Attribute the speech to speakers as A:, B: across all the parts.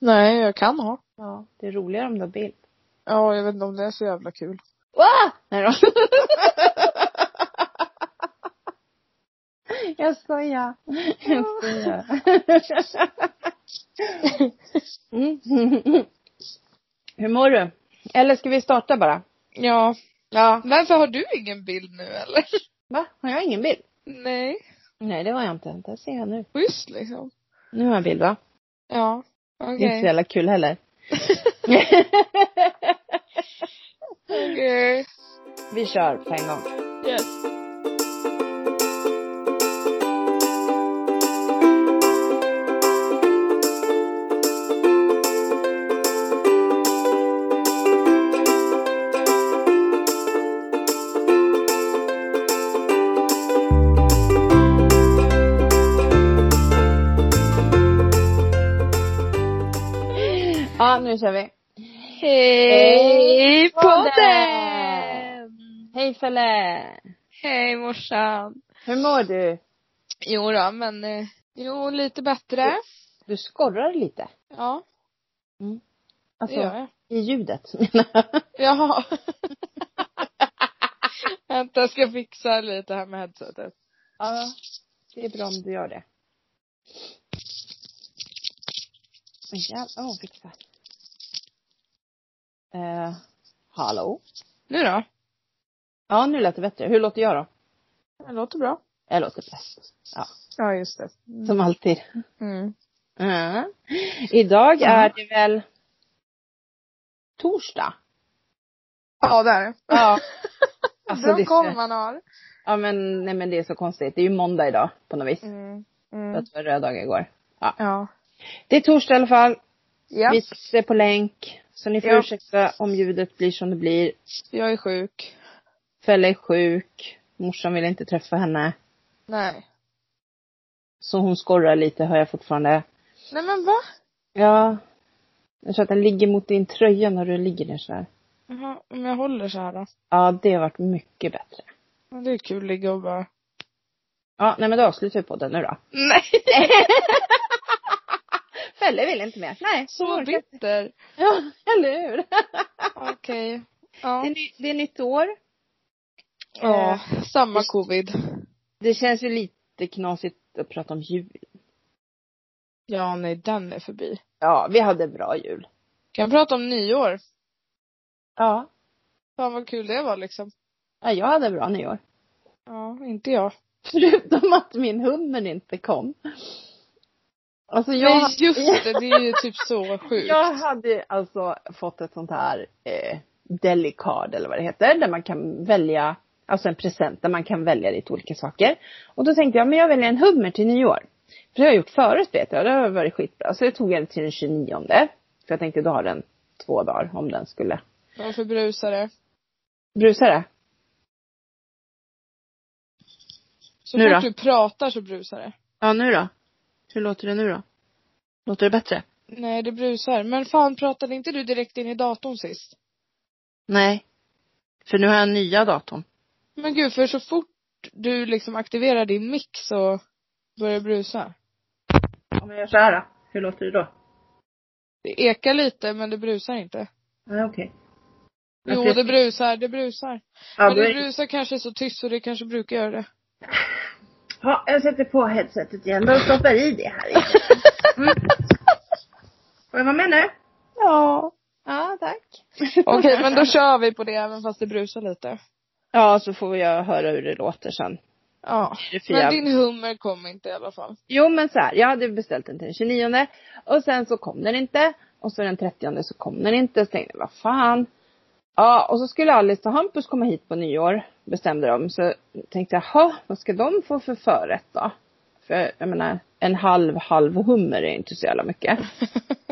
A: Nej, jag kan ha.
B: Ja, det är roligare om du har bild.
A: Ja, jag vet inte om det är så jävla kul.
B: Ah! Nej då. Jag skojar. Jag skojar. Mm. Hur mår du? Eller ska vi starta bara?
A: Ja.
B: Ja.
A: Varför har du ingen bild nu eller?
B: Va? Har jag ingen bild?
A: Nej.
B: Nej, det har jag inte. Det ser jag nu.
A: Schysst liksom.
B: Nu har jag bild, va?
A: Ja.
B: Det är inte så
A: Okej.
B: jävla kul heller.
A: Okej.
B: vi kör på en gång.
A: Yes.
B: Ja, nu kör vi.
A: Hej
B: podden! Hej Felle!
A: Hej morsan.
B: Hur mår du?
A: Jo då, men eh, jo lite bättre.
B: Du skorrar lite.
A: Ja, det
B: Alltså,
A: gör jag.
B: i ljudet.
A: Jaha. Vänta, jag ska fixa lite här med headsetet.
B: ja, det är bra om du gör det. Men jävlar, åh, fixa. Eh, hallå?
A: Nu då?
B: Ja, nu lät det bättre. Hur låter jag då?
A: Det låter bra.
B: Jag låter bäst. Ja,
A: Ja, just det.
B: som alltid.
A: Mm.
B: Ja. Idag är det väl torsdag?
A: Ja, där. är det.
B: Ja. Alltså, det
A: Bra
B: är-
A: koll man har.
B: Ja men, nej men det är så konstigt. Det är ju måndag idag på något vis.
A: Mm.
B: För
A: Mm.
B: att det var röd dag igår. Ja.
A: Ja.
B: Det är torsdag i alla fall.
A: Ja,
B: Vi sitter på länk. Så ni får
A: Ja.
B: ursäkta om ljudet blir som det blir.
A: jag är sjuk.
B: Fälla är sjuk. Morsan vill inte träffa henne.
A: Nej.
B: Så hon skorrar lite hör jag fortfarande.
A: Nej men va?
B: Ja. Jag tror att den ligger mot din tröja när du ligger ner sådär.
A: Jaha, om jag håller så här då.
B: Ja, det har varit mycket bättre.
A: Ja, Det är kul, ligga och bara.
B: Ja, nej men då avslutar vi podden nu då.
A: Nej,
B: Fälle vill inte mer. Nej,
A: så
B: orkar-
A: bitter.
B: Ja, eller hur?
A: Okej.
B: Det är,
A: Ja.
B: ny, det är nytt år. Eh,
A: ja. Samma covid.
B: Det känns ju lite knasigt att prata om jul.
A: Ja, nej den är förbi.
B: Ja, vi hade bra jul.
A: Kan jag prata om nyår?
B: Ja.
A: Fan vad kul det var liksom.
B: Ja, jag hade bra nyår.
A: Ja, inte jag.
B: Förutom att min hummer inte kom. Alltså jag,
A: Nej just det, det är ju typ så sjukt.
B: jag hade alltså fått ett sånt här eh, delikard eller vad det heter. Där man kan välja, alltså en present där man kan välja lite olika saker. Och då tänkte jag, men jag väljer en hummer till nyår. För det har jag gjort förut vet jag, det har varit skitbra. Så det tog jag till den 29. För jag tänkte då har den två dagar om den skulle
A: Varför brusar det?
B: brusa det.
A: Så
B: Nu
A: fort
B: då?
A: du pratar så brusar det.
B: Ja, nu då? Hur låter det nu då? Låter det bättre?
A: Nej, det brusar. Men fan, pratade inte du direkt in i datorn sist?
B: Nej. För nu har jag nya datorn.
A: Men gud, för så fort du liksom aktiverar din mick så börjar det brusa.
B: Om jag gör så här då? Hur låter det då?
A: Det ekar lite, men det brusar inte.
B: Ja, okej.
A: Jo, det brusar, det brusar.
B: ja,
A: men
B: då
A: det
B: är...
A: brusar kanske så tyst så det kanske brukar göra det.
B: ja, jag sätter på headsetet igen. Då stoppar i det här igen. Mm. Får jag vara med nu? Ja. Ja, tack.
A: Okej, men då kör vi på det även fast det brusar lite.
B: Ja, så får jag höra hur det låter sen.
A: Ja.
B: Det är för
A: Men
B: jävla-
A: din hummer kom inte i alla fall.
B: Jo men så här, jag hade beställt den till den 29 och sen så kom den inte och så den 30 så kom den inte. Så tänkte jag, vad fan. Ja och så skulle Alice och Hampus komma hit på nyår bestämde de. Så tänkte jag, jaha vad ska de få för förrätt då? För jag menar en halv halv hummer är inte så jävla mycket.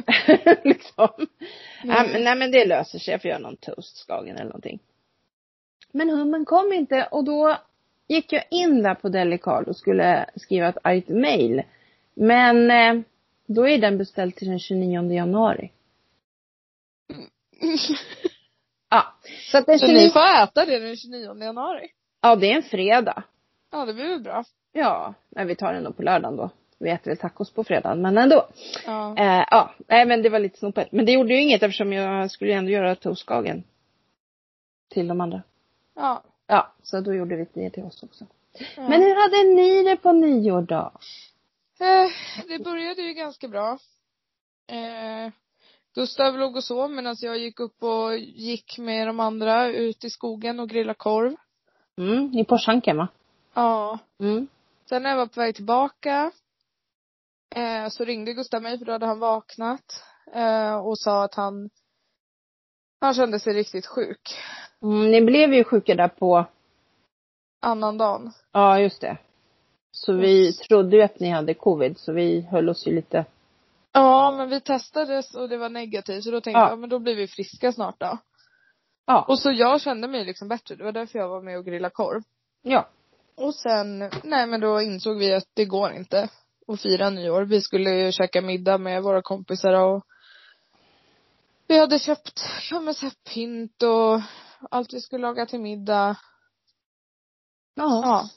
B: liksom. Nej. men, nej men det löser sig, jag får göra någon toastskagen eller någonting. Men hummen kom inte och då gick jag in där på Delicard och skulle skriva ett argt mail. Men eh, då är den beställd till den 29 januari. Ja, så att den
A: Så ni
B: 29,
A: får äta det den 29 januari.
B: ja det är en fredag.
A: Ja, det blir väl bra.
B: Ja, men vi tar den då på lördagen då. Vi äter väl tacos på fredagen, men ändå.
A: Ja.
B: Eh, ja, nej men det var lite snopet. Men det gjorde ju inget eftersom jag skulle ju ändå göra toastkagen. Till de andra.
A: ja.
B: Ja, så då gjorde vi det till oss också.
A: ja.
B: Men hur hade ni det på nyår då?
A: Eh, det började ju ganska bra. Eh, Gustav låg och sov medan jag gick upp och gick med de andra ut i skogen och grillade korv.
B: Mm, i Porschanken va?
A: Ja.
B: Mm.
A: Sen när jag var på väg tillbaka eh, så ringde Gustav mig för då hade han vaknat eh, och sa att han han kände sig riktigt sjuk.
B: mm. Ni blev ju sjuka där på,
A: Annan dagen.
B: ja just det. Så vi trodde ju att ni hade covid så vi höll oss ju lite,
A: Ja, men vi testades och det var negativt så då tänkte
B: Ja.
A: jag, ja, men då blir vi friska snart då.
B: ja,
A: Och så jag kände mig liksom bättre, det var därför jag var med och grillade korv.
B: ja.
A: Och sen, nej men då insåg vi att det går inte att fira nyår. Vi skulle ju käka middag med våra kompisar och vi hade köpt, ja men så här pynt och allt vi skulle laga till middag.
B: Ja.
A: Ja.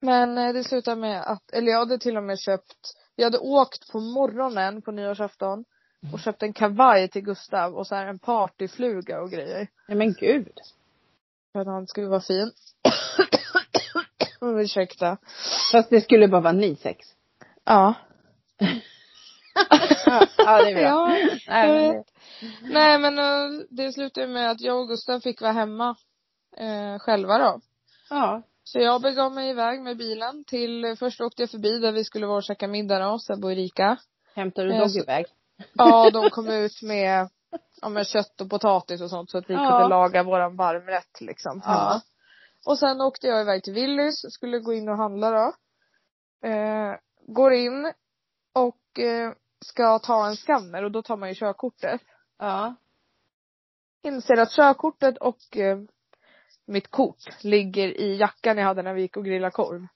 A: Men eh, det slutade med att, eller jag hade till och med köpt, jag hade åkt på morgonen på nyårsafton och köpt en kavaj till Gustav och så här en partyfluga och grejer.
B: Nej men gud.
A: För att han skulle vara fin. Ursäkta.
B: Fast det skulle bara vara ni sex.
A: Ja.
B: ja, det är bra.
A: Ja,
B: Nej,
A: jag
B: men det-
A: vet. Nej men eh, det slutade med att jag och Gustav fick vara hemma eh, själva då.
B: ja.
A: Så jag begav mig iväg med bilen till, eh, först åkte jag förbi där vi skulle vara och käka middag då, Sebbe och Erika.
B: Hämtar du
A: Eh,
B: dogg
A: så-
B: iväg?
A: Ja, de kom ut med, ja men kött och potatis och sånt så att vi
B: Ja.
A: kunde laga våran varmrätt liksom
B: Ja.
A: hemma. Och sen åkte jag iväg till Willys, skulle gå in och handla då. Eh, går in och eh, ska ta en skanner och då tar man ju körkortet.
B: Ja.
A: Inser att körkortet och eh, mitt kort ligger i jackan jag hade när vi gick och grillade korv.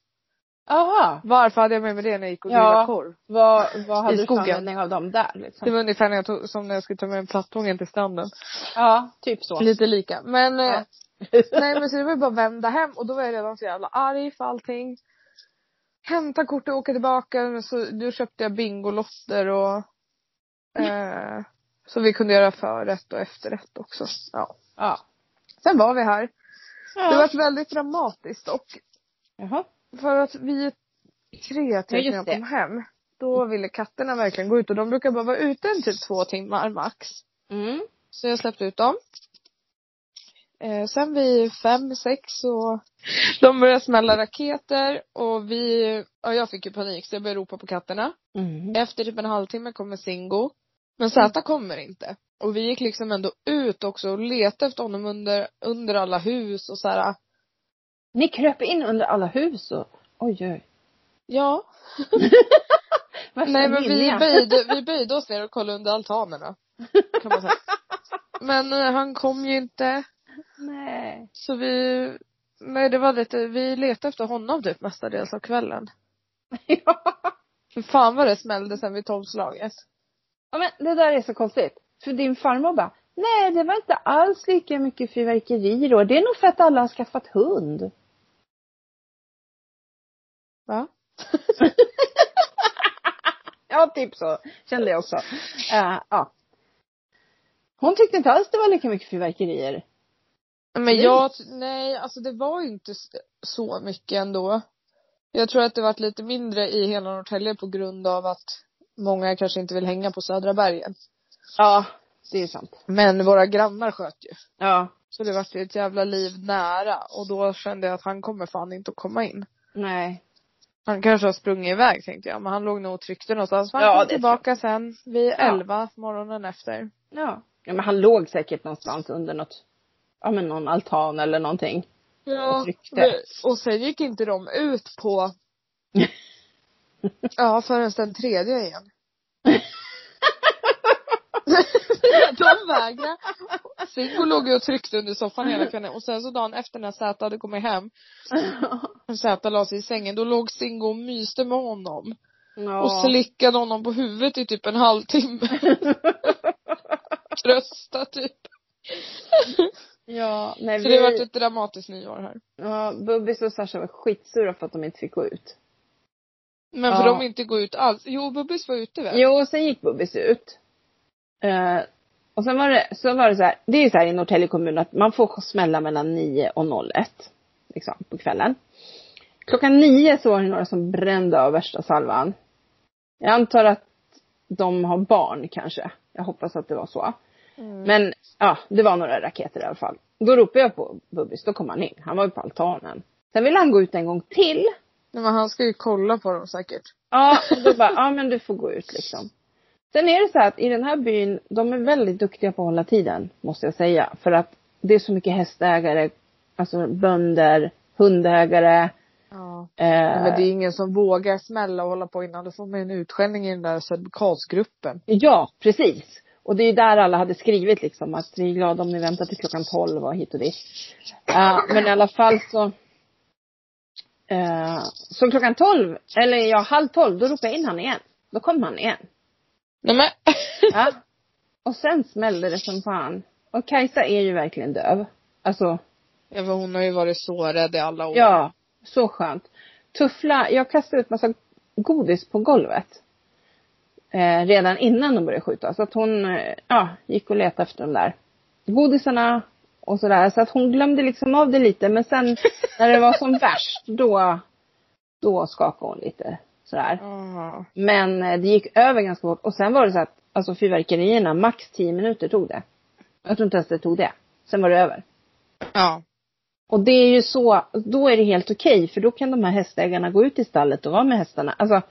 B: Aha.
A: Varför hade jag med mig det när jag gick och
B: Ja.
A: grillade korv?
B: Vad, vad hade
A: I
B: du för
A: skogen.
B: användning av dem där
A: Det
B: liksom?
A: var ungefär när jag tog, som när jag skulle ta med plattången till stranden.
B: Ja, typ så.
A: Lite lika. Men eh,
B: Ja.
A: Nej men så det var ju bara att vända hem och då var jag redan så jävla arg för allting. Hämta kortet och åka tillbaka. Men Så då köpte jag bingolotter och
B: Mm.
A: eh, så vi kunde göra förrätt och efterrätt också. Ja.
B: Ja.
A: Sen var vi här.
B: ja.
A: Det var väldigt dramatiskt och
B: Jaha.
A: för att vi tre
B: Ja,
A: till
B: just
A: när jag
B: det.
A: kom hem. Då ville katterna verkligen gå ut och de brukar bara vara ute en typ två timmar max.
B: Mm.
A: Så jag släppte ut dem. Eh, sen vid fem, sex så de började smälla raketer och vi, ja jag fick ju panik så jag började ropa på katterna.
B: Mm.
A: Efter typ en halvtimme kommer Singo. Men Zäta kommer inte. Och vi gick liksom ändå ut också och letade efter honom under, under alla hus och så här.
B: Ni kröp in under alla hus och oj oj.
A: Ja.
B: Värsta
A: Nej men vi
B: linjen.
A: böjde, vi böjde oss ner och kollade under altanerna. Kan man säga. Men eh, han kom ju inte.
B: Nej.
A: Så vi, nej det var lite, vi letade efter honom typ mestadels av kvällen.
B: ja.
A: För fan vad det smällde sen vid tolvslaget.
B: Ja, men det där är så konstigt. För din farmor bara, nej det var inte alls lika mycket fyrverkeri då. Det är nog för att alla har skaffat hund.
A: Va?
B: Ja, typ så. Kände jag också. Eh, ja. Hon tyckte inte alls det var lika mycket fyrverkerier.
A: Men jag, nej alltså det var ju inte s- så mycket ändå. Jag tror att det varit lite mindre i hela Norrtälje på grund av att många kanske inte vill hänga på Södra bergen.
B: Ja, det är sant.
A: Men våra grannar sköt ju.
B: Ja.
A: Så det vart ju ett jävla liv nära och då kände jag att han kommer fan inte att komma in.
B: Nej.
A: Han kanske har sprungit iväg tänkte jag, men han låg nog och tryckte någonstans. Men
B: Ja,
A: han
B: det
A: kom
B: tror
A: tillbaka sen vid
B: Ja.
A: elva morgonen efter.
B: Ja. ja. men han låg säkert någonstans under något, ja men någon altan eller någonting.
A: Ja,
B: Och tryckte.
A: det- och sen gick inte de ut på Ja, förrän den tredje igen. de vägrade. Siggo låg ju och tryckte under soffan hela kvällen och sen så dagen efter när Zäta hade kommit hem och Zäta la sig i sängen, då låg Singo och myste med honom.
B: Ja.
A: Och slickade honom på huvudet i typ en halvtimme. Trösta typ.
B: ja, nej
A: Så
B: vi,
A: det har varit ett dramatiskt nyår här.
B: ja, Bubbis och Sasha var skitsura för att de inte fick gå ut.
A: Men för
B: Ja.
A: de inte gå ut alls. Jo, Bubbis var ute väl?
B: Jo, och sen gick Bubbis ut. Eh, och sen var det, så var det så här, det är ju så här i Norrtälje kommun att man får smälla mellan 9 och 01. Liksom, på kvällen. Klockan 9 så var det några som brände av värsta salvan. Jag antar att de har barn kanske. Jag hoppas att det var så.
A: Mm.
B: Men ja, det var några raketer i alla fall. Då ropade jag på Bubbis, då kom han in. Han var ju på altanen. Sen ville han gå ut en gång till.
A: Nej, men han ska ju kolla på dem säkert.
B: Ja, och då bara, ja men du får gå ut liksom. Sen är det så här att i den här byn, de är väldigt duktiga på att hålla tiden, måste jag säga. För att det är så mycket hästägare, alltså bönder, hundägare.
A: Ja.
B: Eh,
A: Men det är ingen som vågar smälla och hålla på innan. Då får man en utskällning i den där Söderkarlsgruppen.
B: Ja, precis. Och det är där alla hade skrivit liksom att vi är glada om ni väntar till klockan 12 och hit och dit. Eh, men i alla fall så eh, så klockan 12, eller ja halv 12, då ropade jag in han igen. Då kom han igen.
A: Nej men.
B: Ja. Och sen smällde det som fan. Och Kajsa är ju verkligen döv. Alltså,
A: ja, men hon har ju varit sårad i alla år.
B: ja, så skönt. Tuffla, jag kastade ut massa godis på golvet. Eh, redan innan de började skjuta. Så att hon, eh, ja, gick och letade efter de där godisarna och sådär. Så att hon glömde liksom av det lite. Men sen när det var som värst, då, då skakade hon lite sådär.
A: Ja.
B: Men eh, det gick över ganska fort. Och sen var det så att alltså fyrverkerierna, max 10 minuter tog det. Jag tror inte ens det tog det. Sen var det över.
A: Ja.
B: Och det är ju så, då är det helt okej för då kan de här hästägarna gå ut i stallet och vara med hästarna. Alltså,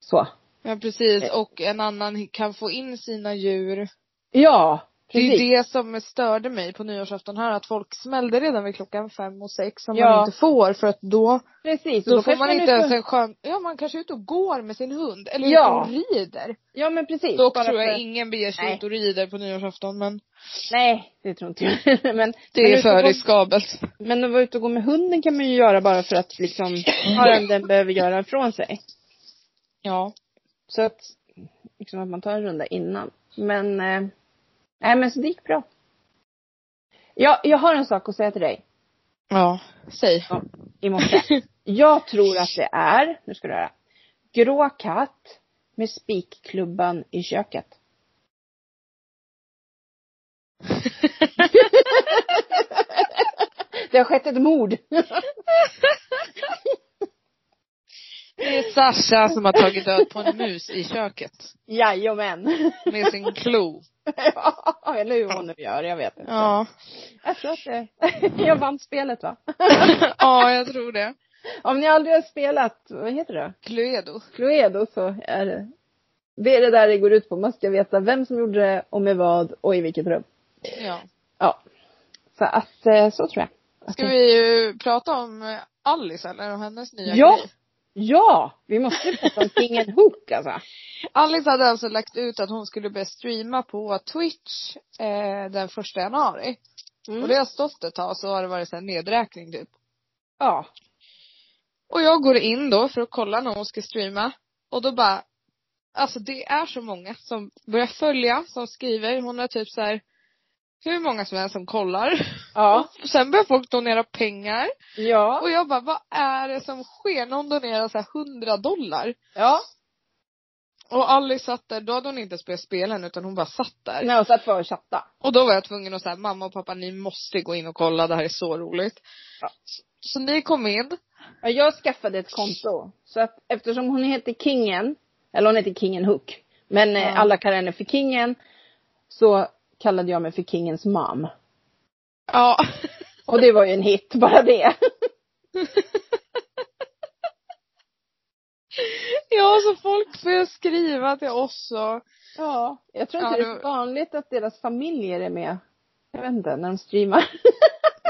B: så.
A: Ja precis.
B: Eh.
A: Och en annan kan få in sina djur.
B: Ja,
A: Det är ju
B: precis.
A: det som störde mig på nyårsafton här. Att folk smällde redan vid klockan fem och sex som man
B: Ja.
A: inte får. För att då
B: precis. Och
A: Då får
B: kanske
A: man
B: är
A: inte ens
B: ute-
A: en skön, ja man kanske är ute och går med sin hund eller ja.
B: Ja.
A: ute och rider.
B: Ja men precis.
A: Dock
B: Bara
A: tror jag
B: för-
A: ingen beger sig
B: Nej.
A: ut och rider på nyårsafton men
B: Nej, det tror inte jag. men,
A: det
B: men
A: är
B: ute
A: för
B: och gå-
A: riskabelt.
B: Men att vara ute och gå med hunden kan man ju göra bara för att liksom, bara om den behöver göra ifrån sig.
A: Ja.
B: Så att, liksom att man tar en runda innan. Men, eh, nej men så det gick bra. Ja, jag har en sak att säga till dig
A: Ja. Säg.
B: i morse. Jag tror att det är, nu ska du höra, grå katt med spikklubban i köket. Det har skett ett mord.
A: Det är Sasha som har tagit död på en mus i köket.
B: Jajamän.
A: Med sin klo.
B: Ja, eller hur hon nu gör, jag vet inte.
A: Ja.
B: Jag tror att det, jag vann spelet va?
A: Ja jag tror det.
B: Om ni aldrig har spelat, vad heter det?
A: Cluedo.
B: Cluedo så är det, det är det där det går ut på. Man ska veta vem som gjorde det och med vad och i vilket rum.
A: Ja.
B: Ja. Så att, eh, så tror jag. Att
A: Ska
B: det-
A: vi ju prata om eh, Alice eller om hennes nya
B: Ja.
A: grej?
B: Ja! Vi måste ju prata om Kingen Hook alltså.
A: Alice hade alltså lagt ut att hon skulle börja streama på Twitch eh, den första januari. Och det har stått ett tag så har det varit så här nedräkning typ.
B: Ja.
A: Och jag går in då för att kolla när hon ska streama. Och då bara, alltså det är så många som börjar följa, som skriver. Hon har typ så här hur många som helst som kollar.
B: Ja.
A: Och sen börjar folk donera pengar.
B: Ja.
A: Och jag bara, vad är det som sker? Någon donerar så här 100 dollar.
B: Ja.
A: Och Alice satt där, då hade hon inte ens börjat spela än utan hon bara satt där.
B: Nej, och satt för att chatta.
A: Och då var jag tvungen att säga, mamma och pappa ni måste gå in och kolla, det här är så roligt.
B: Ja.
A: Så, så ni kom in.
B: Ja, jag skaffade ett konto. Så att eftersom hon heter Kingen, eller hon heter Kingen Hook, men eh,
A: Ja.
B: alla kallar henne för Kingen, så kallade jag mig för Kingens mam.
A: Ja.
B: Och det var ju en hit, bara det.
A: Ja, så folk började skriva till oss och
B: Ja. Jag tror
A: Ja,
B: inte det är
A: det-
B: så vanligt att deras familjer är med. Jag vet inte, när de streamar.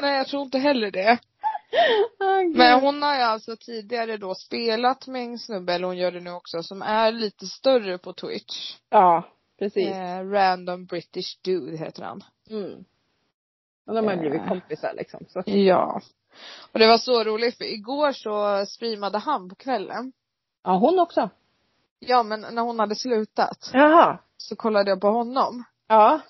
A: nej jag tror inte heller det.
B: Ah, gud.
A: Men hon har ju alltså tidigare då spelat med en snubbe, eller hon gör det nu också, som är lite större på Twitch.
B: Ja, precis.
A: Eh, Random British Dude heter han.
B: Mm. Och de har ju blivit
A: Eh.
B: kompisar liksom. Så.
A: Ja. Och det var så roligt för igår så streamade han på kvällen.
B: Ja, hon också.
A: Ja men när hon hade slutat
B: Jaha.
A: så kollade jag på honom.
B: Ja.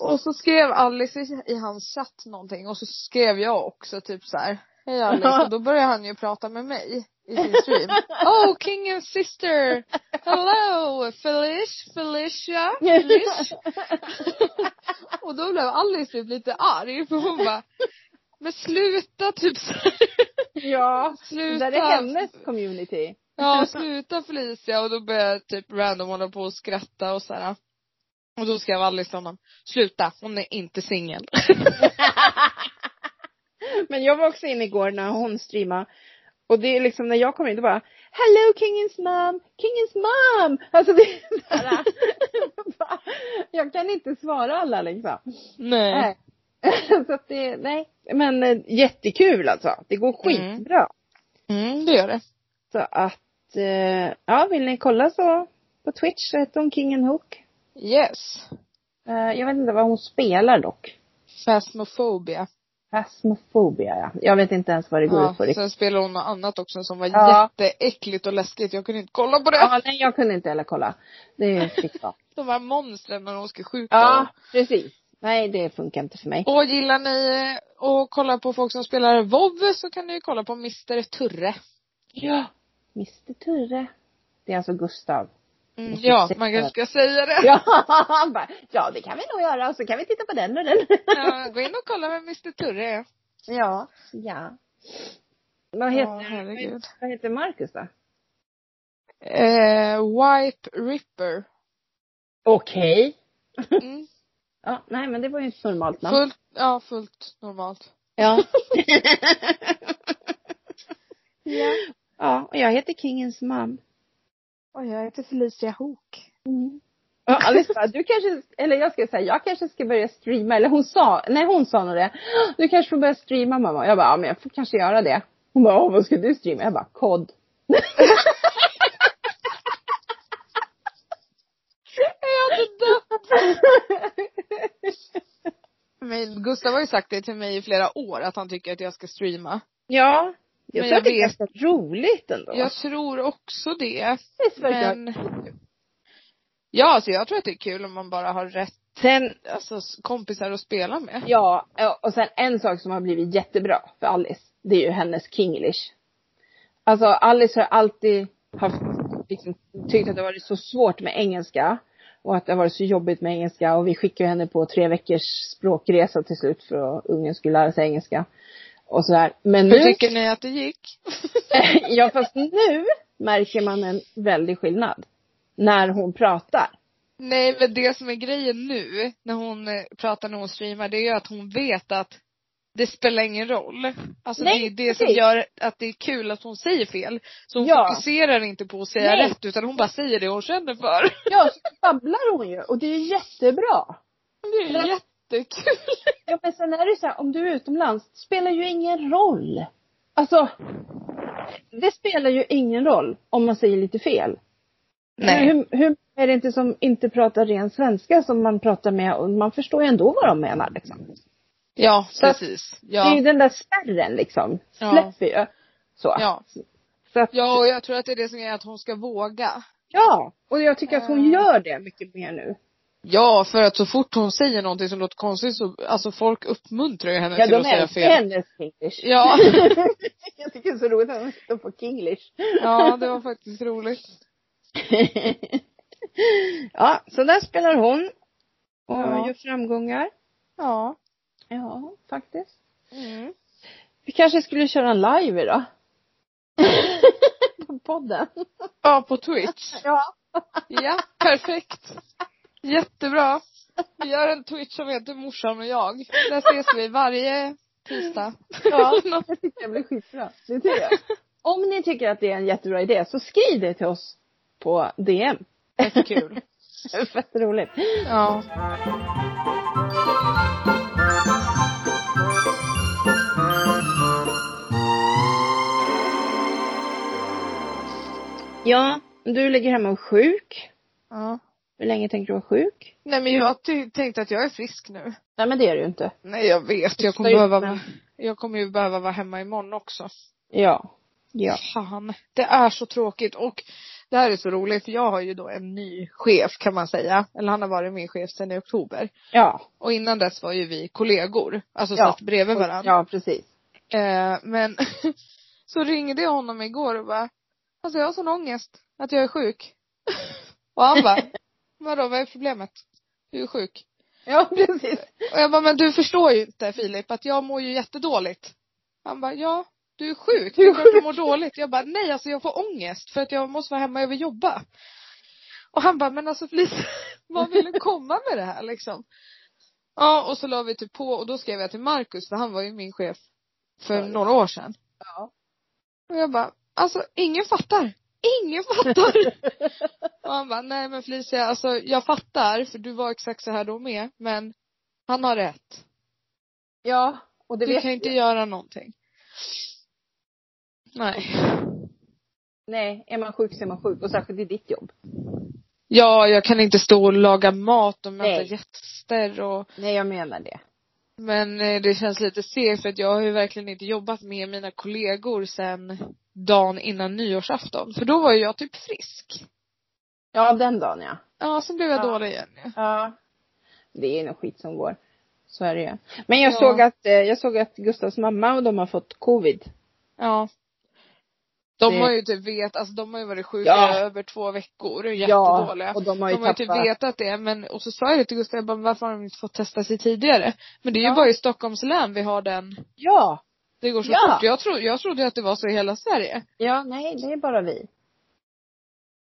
A: Och så skrev Alice i, i hans chatt någonting och så skrev jag också typ så här. Hej Alice. Och då börjar han ju prata med mig i sin stream. oh, king and sister! Hello! Felish, Felicia, Felish. Och då blev Alice typ lite arg för hon bara Men sluta typ så här.
B: ja. Det
A: Sluta.
B: där är hennes community.
A: Ja, sluta Felicia. Och då började typ random hålla på och skratta och så här. Och då skrev Alice till honom, sluta, hon är inte singel.
B: Men jag var också inne igår när hon streamade. Och det är liksom när jag kommer in, då bara Hello Kingens mom, Kingens mom! Alltså det är så här, bara, Jag kan inte svara alla liksom.
A: Nej.
B: Nej. så att det, nej. Men eh, jättekul alltså. Det går
A: Mm.
B: skitbra.
A: Mm, det gör det.
B: Så att, eh, ja vill ni kolla så på Twitch så heter hon Kingen Hook.
A: Yes.
B: Eh, jag vet inte vad hon spelar dock.
A: Phasmophobia.
B: Phasmophobia ja. Jag vet inte ens vad det går
A: Ja,
B: ut på riktigt.
A: sen spelade hon något annat också som var
B: Ja.
A: jätteäckligt och läskigt. Jag kunde inte kolla på det.
B: Ja, nej jag kunde inte heller kolla. Det fick jag.
A: De här monstren när de ska skjuta.
B: Ja, precis. Nej, det funkar inte för mig.
A: Och gillar ni eh, att kolla på folk som spelar WoW så kan ni ju kolla på Mr Turre.
B: Ja. Mr Turre. Det är alltså Gustav.
A: Mm, ja, man kanske ska säga det.
B: Ja, han bara, ja det kan vi nog göra och så kan vi titta på den och den.
A: Ja, gå in och kolla vem Mr Turre är.
B: Ja. Ja. Vad
A: Ja,
B: heter,
A: herregud.
B: vad heter Marcus då?
A: Eh, Wipe Ripper.
B: Okej.
A: Mm.
B: Ja, nej men det var ju ett normalt namn.
A: Fullt, ja fullt normalt.
B: Ja. ja. Ja, och jag heter Kingens man.
A: Och jag heter Felicia Hook.
B: Mm. Och Alice bara, du kanske, eller jag ska säga, jag kanske ska börja streama. Eller hon sa, nej hon sa nog det. Du kanske får börja streama mamma. Jag bara, ja men jag får kanske göra det. Hon bara, "Ja, vad ska du streama? Jag bara, kod.
A: Jag hade dött. Men Gustav har ju sagt det till mig i flera år att han tycker att jag ska streama.
B: Ja.
A: Men
B: Jag tror
A: jag
B: att det är
A: vet-
B: ganska roligt ändå.
A: Jag tror också det.
B: Visst verkar-
A: Men Ja, så jag tror att det är kul om man bara har rätt,
B: Sen,
A: alltså s- kompisar att spela med.
B: Ja, eh, och sen en sak som har blivit jättebra för Alice, det är ju hennes kinglish. Alltså Alice har alltid haft, liksom, tyckt att det har varit så svårt med engelska. Och att det har varit så jobbigt med engelska och vi skickade henne på tre veckors språkresa till slut för att ungen skulle lära sig engelska. Och sådär. Men
A: Hur
B: nu,
A: tycker ni att det gick?
B: ja fast nu märker man en väldig skillnad. När hon pratar.
A: Nej, men det som är grejen nu, när hon eh, pratar när hon streamar, det är ju att hon vet att det spelar ingen roll. Alltså
B: Nej,
A: det är det som
B: precis.
A: gör att det är kul att hon säger fel. Så hon
B: Ja.
A: fokuserar inte på att säga
B: Nej.
A: rätt, utan hon bara säger det hon känner för.
B: Ja, så babblar hon ju och det är ju jättebra.
A: Det är
B: Men-
A: jättekul.
B: Ja men sen är det ju så här, om du är utomlands, det spelar ju ingen roll. Alltså, det spelar ju ingen roll om man säger lite fel. Hur, hur är det inte som inte pratar ren svenska som man pratar med och man förstår ju ändå vad de menar liksom.
A: Ja,
B: Så att-
A: precis.
B: Det är ju
A: Ja.
B: den där spärren liksom,
A: Ja.
B: släpper ju. Så.
A: Ja.
B: Så att,
A: Ja, och jag tror att det är det som är att hon ska våga.
B: ja. Och jag tycker att hon
A: Eh.
B: gör det mycket mer nu.
A: Ja, för att så fort hon säger någonting som låter konstigt så, alltså folk uppmuntrar ju henne
B: Ja,
A: till
B: de
A: att säga
B: älskar
A: fel.
B: hennes kinglish.
A: Ja.
B: jag tycker det är så roligt att de sitter på kinglish.
A: Ja, det var faktiskt roligt.
B: ja, så där spelar hon. Och
A: Ja.
B: gör framgångar.
A: Ja.
B: Ja, faktiskt.
A: Mm.
B: Vi kanske skulle köra en live idag. På podden.
A: Ja, på Twitch.
B: Ja.
A: Ja, perfekt. Jättebra. Vi gör en Twitch som heter Morsan och jag. Där ses vi varje tisdag.
B: ja. Jag tycker det blir skitbra. Det tycker jag. Om ni tycker att det är en jättebra idé så skriv det till oss på DM.
A: Fett kul.
B: Fett roligt.
A: Ja.
B: Ja, du ligger hemma och är sjuk.
A: ja.
B: Hur länge tänker du vara sjuk?
A: Nej men jag ty- tänkte att jag är frisk nu.
B: Nej men det är du inte.
A: Nej jag vet, jag kommer
B: Just det.
A: behöva, jag kommer ju behöva vara hemma imorgon också.
B: Ja. Ja.
A: Fan, det är så tråkigt och det här är så roligt för jag har ju då en ny chef kan man säga. Eller han har varit min chef sedan i oktober.
B: Ja.
A: Och innan dess var ju vi kollegor, alltså
B: Ja.
A: satt bredvid varandra.
B: Ja precis.
A: Eh, men så ringde jag honom igår och bara, alltså jag har sån ångest att jag är sjuk. och han bara, vadå vad är problemet? Du är sjuk.
B: Ja, precis.
A: Och jag bara, men du förstår ju inte Filip att jag mår ju jättedåligt. Han bara, ja du är sjuk, du, du mår dåligt. Jag bara, nej alltså jag får ångest för att jag måste vara hemma och jag vill jobba. Och han bara, men alltså Felicia, vad vill du komma med det här liksom? Ja och så la vi typ på och då skrev jag till Marcus för han var ju min chef för
B: Ja.
A: några år sedan.
B: Ja.
A: Och jag bara, alltså ingen fattar. Ingen fattar. och han bara, nej men Felicia, alltså jag fattar för du var exakt så här då med, men han har rätt.
B: Ja, och det
A: Du
B: vet
A: kan inte
B: vi.
A: göra någonting. Nej.
B: Nej, är man sjuk så är man sjuk. Och särskilt i ditt jobb.
A: Ja, jag kan inte stå och laga mat och möta
B: Nej.
A: gäster och
B: Nej, jag menar det.
A: Men eh, det känns lite segt för att jag har ju verkligen inte jobbat med mina kollegor sen dagen innan nyårsafton. För då var ju jag typ frisk.
B: Ja, den dagen ja.
A: Ja, sen blev jag
B: Ja.
A: dålig igen ja.
B: Ja. Det är nog skit som går. Så är det ju. Men jag
A: Ja.
B: såg att, eh, jag såg att Gustavs mamma och de har fått covid.
A: ja. De
B: Det-
A: har ju typ vet, alltså de har ju varit sjuka
B: Ja.
A: i över två veckor och jättedåliga.
B: och de har ju
A: de har ju
B: tappat.
A: typ vetat det men, och så sa jag det till Gustav, jag bara, varför har de inte fått testa sig tidigare? Men det är ju
B: Ja.
A: bara i Stockholms län vi har den,
B: Ja.
A: det går så
B: Ja.
A: fort. Jag, tro, jag trodde ju att det var så i hela Sverige.
B: Ja, nej, det är bara vi.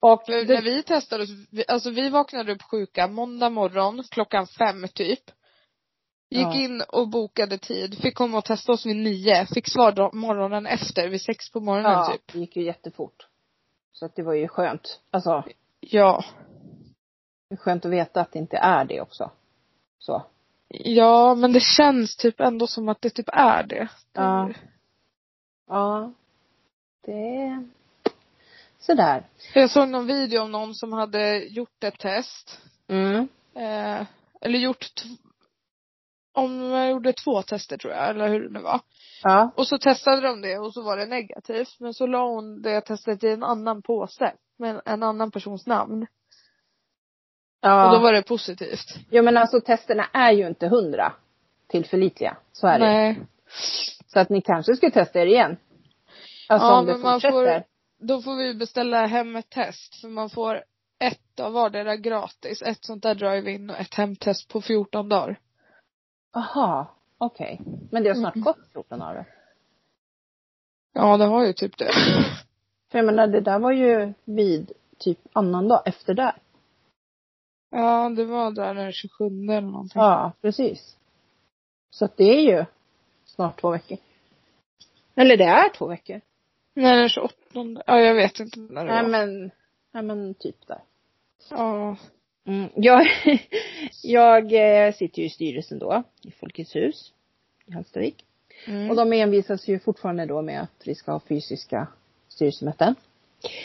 B: Och
A: För
B: det,
A: när vi testade oss, vi- alltså vi vaknade upp sjuka måndag morgon klockan fem typ. Gick
B: Ja.
A: in och bokade tid, fick komma och testa oss vid nio, fick svar då- morgonen efter vid sex på morgonen
B: ja,
A: typ.
B: det gick ju jättefort. Så att det var ju skönt. Alltså,
A: Ja.
B: det är skönt att veta att det inte är det också. Så.
A: Ja men det känns typ ändå som att det typ är det.
B: Ja. Ja. Det är sådär.
A: Jag såg någon video om någon som hade gjort ett test.
B: Mm.
A: Eh, eller gjort t- om jag gjorde två tester tror jag, eller hur det nu var.
B: Ja.
A: Och så testade de det och så var det negativt. Men så la hon det testet i en annan påse. Med en annan persons namn.
B: ja.
A: Och då var det positivt.
B: Jo men alltså testerna är ju inte hundra tillförlitliga. Så är det.
A: Nej.
B: Så att ni kanske ska testa er igen. Alltså
A: Ja,
B: om det
A: men man
B: fortsätter.
A: får- Då får vi beställa hem ett test. För man får ett av vardera gratis. Ett sånt där drive-in och ett hemtest på 14 dagar.
B: Aha, okej. Men det har snart
A: Mm.
B: gått 14 dagar.
A: Ja, det har ju typ det.
B: För jag menar det där var ju vid typ annan dag efter där.
A: Ja, det var där den 27 eller någonting.
B: Ja, precis. Så att det är ju snart två veckor. Eller det är två veckor.
A: Nej, den 28. Ja, jag vet inte när det
B: Nej
A: var.
B: men, nej men typ där.
A: Ja.
B: Mm. Jag, jag eh, sitter ju i styrelsen då, i Folkets hus i Hallstavik.
A: Mm.
B: Och de envisas ju fortfarande då med att vi ska ha fysiska styrelsemöten.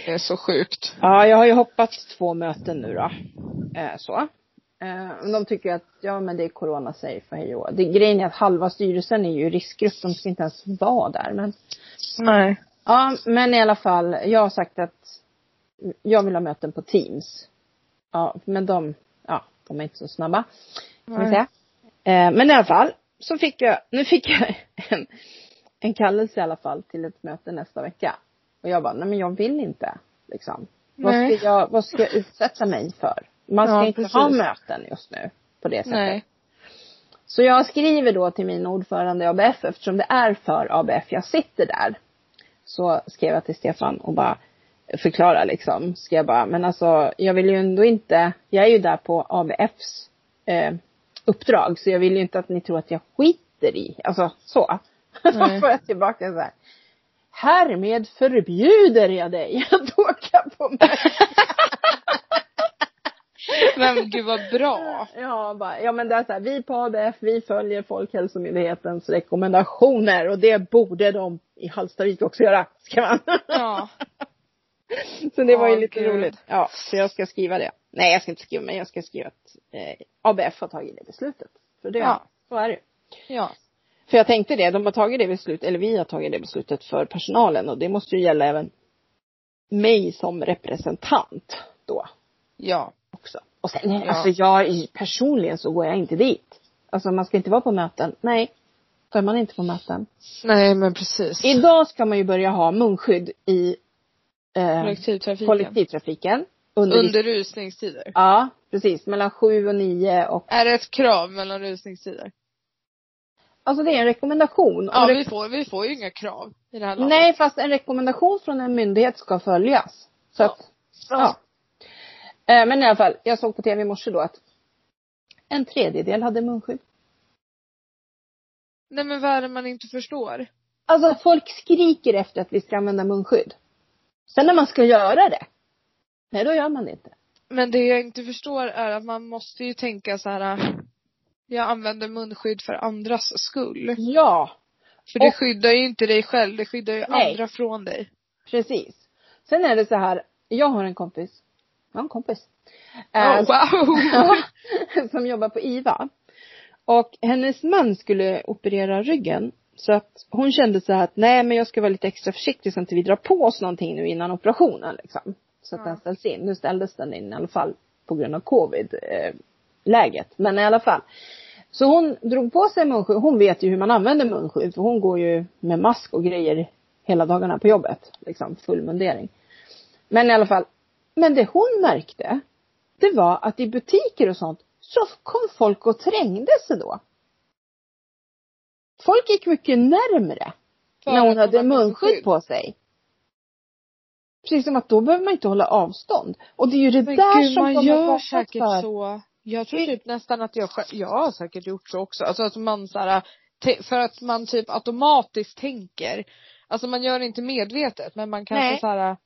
A: Det är så sjukt.
B: Ja, jag har ju hoppat två möten nu då. Eh, så. Eh, men de tycker att, ja men det är corona safe och hej och hå. Det- Grejen är att halva styrelsen är ju i riskgrupp, de ska inte ens vara där. Men,
A: Nej.
B: ja, men i alla fall, jag har sagt att jag vill ha möten på Teams. Ja, men de, ja, de är inte så snabba kan
A: Nej.
B: vi säga. Eh, men i alla fall, så fick jag, nu fick jag en, en kallelse i alla fall till ett möte nästa vecka. Och jag bara, nej men jag vill inte. Liksom. Vad, ska
A: Nej.
B: jag, vad ska jag utsätta mig för? Man ska
A: Ja,
B: inte
A: precis.
B: ha möten just nu på det sättet.
A: Nej.
B: Så jag skriver då till min ordförande i ABF, eftersom det är för ABF jag sitter där. Så skrev jag till Stefan och bara förklara liksom. Skrev bara, men alltså jag vill ju ändå inte, jag är ju där på ABFs eh, uppdrag. Så jag vill ju inte att ni tror att jag skiter i, alltså så. Då
A: Nej.
B: får jag tillbaka så här. Härmed förbjuder jag dig att åka på möten.
A: Men gud vad bra.
B: Ja, bara, ja men det är så här, vi på ABF, vi följer Folkhälsomyndighetens rekommendationer och det borde de i Hallstavik också göra, ska man.
A: Ja.
B: Så det var ju
A: Åh,
B: lite
A: gud.
B: roligt. Ja, så jag ska skriva det. Nej, jag ska inte skriva, men jag ska skriva att eh, ABF har tagit det beslutet. För det,
A: Ja.
B: så är det
A: Ja.
B: För jag tänkte det, de har tagit det beslutet, eller vi har tagit det beslutet för personalen och det måste ju gälla även mig som representant då
A: Ja.
B: också. Och sen,
A: Ja.
B: alltså jag personligen så går jag inte dit. Alltså man ska inte vara på möten. Nej. För man inte på möten.
A: Nej men precis.
B: Idag ska man ju börja ha munskydd i eh,
A: Kollektivtrafiken.
B: kollektivtrafiken. Under,
A: Under rusningstider.
B: Ja, precis. Mellan sju och nio och
A: Är det ett krav mellan rusningstider?
B: Alltså det är en rekommendation.
A: Ja
B: Och
A: vi får, vi får ju inga krav i det här landet.
B: Nej, fast en rekommendation från en myndighet ska följas. Så
A: Ja.
B: att, ja.
A: Alltså,
B: Eh, Men i alla fall, jag såg på tv i morse då att en tredjedel hade munskydd.
A: Nej men vad är det man inte förstår?
B: Alltså folk skriker efter att vi ska använda munskydd. Sen när man ska göra det, nej då gör man det inte.
A: Men det jag inte förstår är att man måste ju tänka så här. Jag använder munskydd för andras skull.
B: Ja,
A: För det
B: Och-
A: skyddar ju inte dig själv, det skyddar ju
B: Nej.
A: andra från dig.
B: precis. Sen är det så här, jag har en kompis, jag har en kompis. Eh,
A: Oh, wow!
B: Ja, som jobbar på IVA. Och hennes man skulle operera ryggen. Så att hon kände så här att nej men jag ska vara lite extra försiktig så att inte vi drar på oss någonting nu innan operationen liksom. Så att
A: Ja.
B: den ställs in. Nu ställdes den in i alla fall på grund av covid eh, läget. Men i alla fall. Så hon drog på sig munskydd. Hon vet ju hur man använder munskydd för hon går ju med mask och grejer hela dagarna på jobbet. Liksom full mundering. Men i alla fall. Men det hon märkte, det var att i butiker och sånt så kom folk och trängde sig då. Folk gick mycket närmre
A: För
B: när
A: att
B: hon
A: man
B: hade
A: har
B: munskydd på sig. Precis som att då behöver man inte hålla avstånd. Och det är ju det
A: Men
B: där
A: gud,
B: som
A: man
B: kommer
A: gör
B: bakåt
A: säkert
B: för.
A: så. Jag tror typ nästan att jag själv, jag har säkert gjort så också. Alltså att man så här, te- för att man typ automatiskt tänker. Alltså man gör det inte medvetet men man kanske
B: Nej.
A: så här.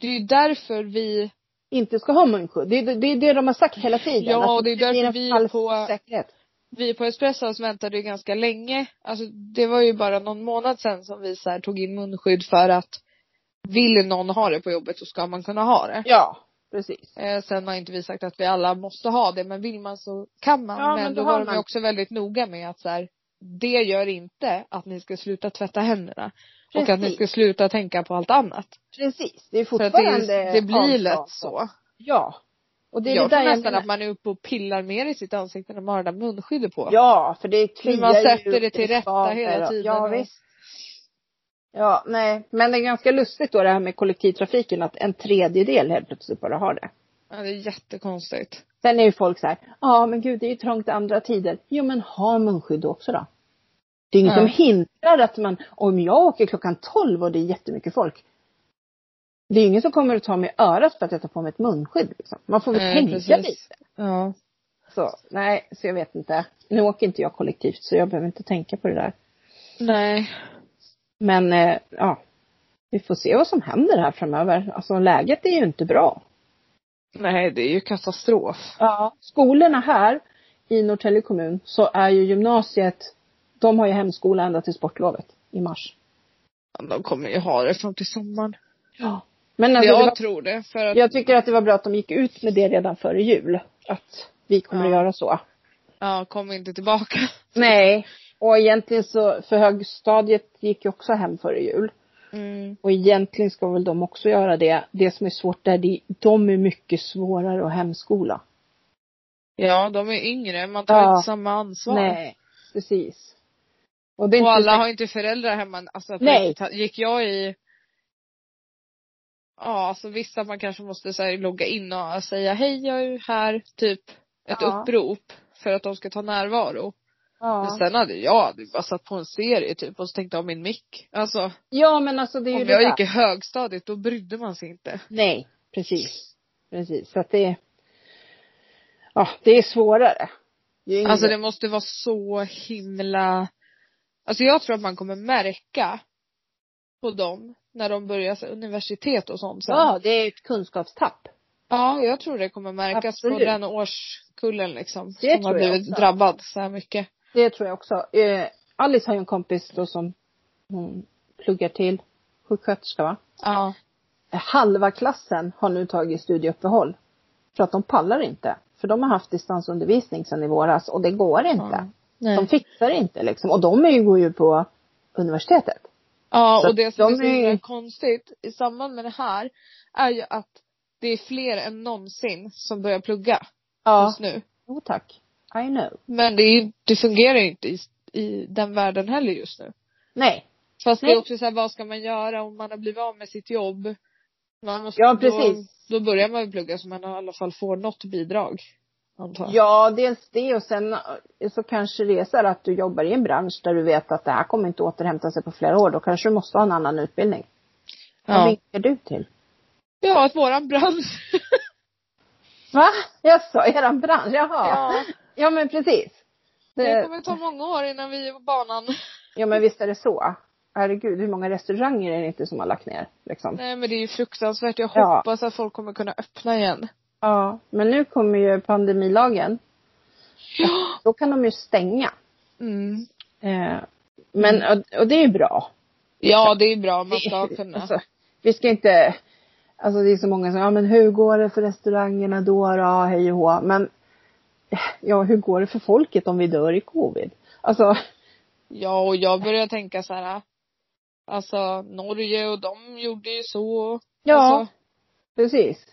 A: Det är ju därför vi,
B: Inte ska ha munskydd. Det är det, det, är det de har sagt hela tiden.
A: Ja,
B: Att
A: och det är därför
B: blir en
A: vi
B: falsk
A: på-
B: Säkerhet.
A: vi på Espressos väntade ju ganska länge. Alltså det var ju bara någon månad sedan som vi så här, tog in munskydd för att vill någon ha det på jobbet så ska man kunna ha det.
B: Ja, precis.
A: Eh, sen har inte vi sagt att vi alla måste ha det, men vill man så kan man.
B: Ja,
A: men,
B: men
A: då
B: då har
A: var de
B: man.
A: ju också väldigt noga med att så här, det gör inte att ni ska sluta tvätta händerna. Och att ni
B: Precis.
A: ska sluta tänka på allt annat.
B: Precis. Det är
A: För att det,
B: fortfarande
A: är- det blir
B: avstånd.
A: lätt så.
B: Ja. Och det är
A: jag
B: det där
A: tror
B: jag
A: nästan
B: menar.
A: att man är uppe och pillar mer i sitt ansikte när man har det där munskyddet på.
B: Ja, för det kliar
A: Hur man
B: ju
A: sätter det
B: upp
A: till
B: i
A: rätta
B: skaver
A: hela
B: och-
A: tiden.
B: Ja,
A: och-
B: visst. Ja, nej. Men det är ganska lustigt då det här med kollektivtrafiken att en tredjedel helt plötsligt bara har det.
A: Ja, det är jättekonstigt.
B: Sen är ju folk så här, ja men gud det är ju trångt andra tider. Jo men ha munskydd då också då. Det är inget
A: Ja.
B: som hindrar att man, om jag åker klockan 12 och det är jättemycket folk. Det är ju ingen som kommer att ta mig i örat för att jag tar på mig ett munskydd liksom. Man får väl
A: Nej,
B: tänka
A: Eh, precis.
B: lite.
A: Ja.
B: Så, nej, så jag vet inte. Nu åker inte jag kollektivt så jag behöver inte tänka på det där.
A: Nej.
B: Men eh, ja, vi får se vad som händer här framöver. Alltså läget är ju inte bra.
A: Nej, det är ju katastrof.
B: Ja. Skolorna här i Norrtälje kommun så är ju gymnasiet, de har ju hemskola ända till sportlovet i mars.
A: De kommer ju ha det fram till sommaren.
B: Ja. Men alltså, det
A: jag
B: var,
A: tror det. För att,
B: jag tycker att det var bra att de gick ut med det redan före jul. Att vi kommer
A: Ja.
B: att göra så.
A: ja, kom inte tillbaka.
B: Nej. Och egentligen så, för högstadiet gick ju också hem före jul.
A: Mm.
B: Och egentligen ska väl de också göra det. Det som är svårt där, det, de är mycket svårare att hemskola.
A: Ja, de är yngre. Man tar
B: Ja.
A: inte samma ansvar.
B: Nej, precis. Och det är
A: Och
B: inte
A: alla
B: säkert-
A: har inte föräldrar hemma. Alltså, på
B: Nej.
A: riktigt. Gick jag i Ja, alltså visst att man kanske måste så här, logga in och säga hej jag är ju här, typ ett
B: Ja.
A: upprop för att de ska ta närvaro. Men
B: ja.
A: sen hade jag hade bara satt på en serie typ och så tänkte jag om min mick. Alltså
B: ja, men alltså det är ju
A: om
B: det
A: jag
B: där.
A: gick i högstadiet då brydde man sig inte.
B: Nej, precis. Precis, så att det Ja, det är svårare. Det är ingen-
A: Alltså det måste vara så himla Alltså jag tror att man kommer märka på dem när de börjar så här, universitet och sånt sen.
B: Ja, det är ett kunskapstapp.
A: Ja, jag tror det kommer märkas
B: Absolut.
A: på den årskullen liksom.
B: Det
A: som har
B: tror jag
A: blivit
B: också.
A: drabbad så här mycket.
B: Det tror jag också. Eh, Alice har ju en kompis då som hon pluggar till sjuksköterska va?
A: Ja.
B: halva klassen har nu tagit studieuppehåll. För att de pallar inte. För de har haft distansundervisning sedan i våras och det går inte. De
A: Nej.
B: fixar inte liksom. Och de är ju, går ju på universitetet.
A: Ja,
B: Så
A: och det som
B: de
A: är så
B: är ju-
A: himla konstigt i samband med det här är ju att det är fler än någonsin som börjar plugga
B: Ja.
A: just nu.
B: Jo tack. I know.
A: Men det, är, ju- det fungerar ju inte i, i den världen heller just nu.
B: Nej.
A: Fast det
B: Nej.
A: är också så här, vad ska man göra om man har blivit av med sitt jobb? Man måste,
B: Ja, precis.
A: Då, då börjar man ju plugga så man i alla fall får något bidrag. Antar jag.
B: Ja, dels det och sen eh, så kanske det är så här att du jobbar i en bransch där du vet att det här kommer inte återhämta sig på flera år. Då kanske du måste ha en annan utbildning. Vad
A: Ja,
B: vinkar du till?
A: ja att våran bransch.
B: Va? Jaså, eran bransch? Jaha.
A: Ja.
B: ja men precis.
A: Det
B: Det,
A: kommer ta många år innan vi är på banan.
B: ja men visst är det så. Herregud, hur många restauranger är det inte som har lagt ner liksom?
A: Nej men det är ju fruktansvärt. Jag
B: Ja.
A: hoppas att folk kommer kunna öppna igen.
B: Ja. Men nu kommer ju pandemilagen.
A: Ja.
B: Då kan de ju stänga.
A: Mm.
B: Eh, men, och, och det är ju bra.
A: Ja det är bra, Mm. man ska
B: Det-
A: kunna.
B: Alltså, vi ska inte, alltså det är så många som, ja men hur går det för restaurangerna då då, hej och hå. Men, eh, ja hur går det för folket om vi dör i covid? Alltså,
A: Ja och jag börjar tänka så här. Alltså Norge och de gjorde ju så.
B: ja,
A: Alltså,
B: precis.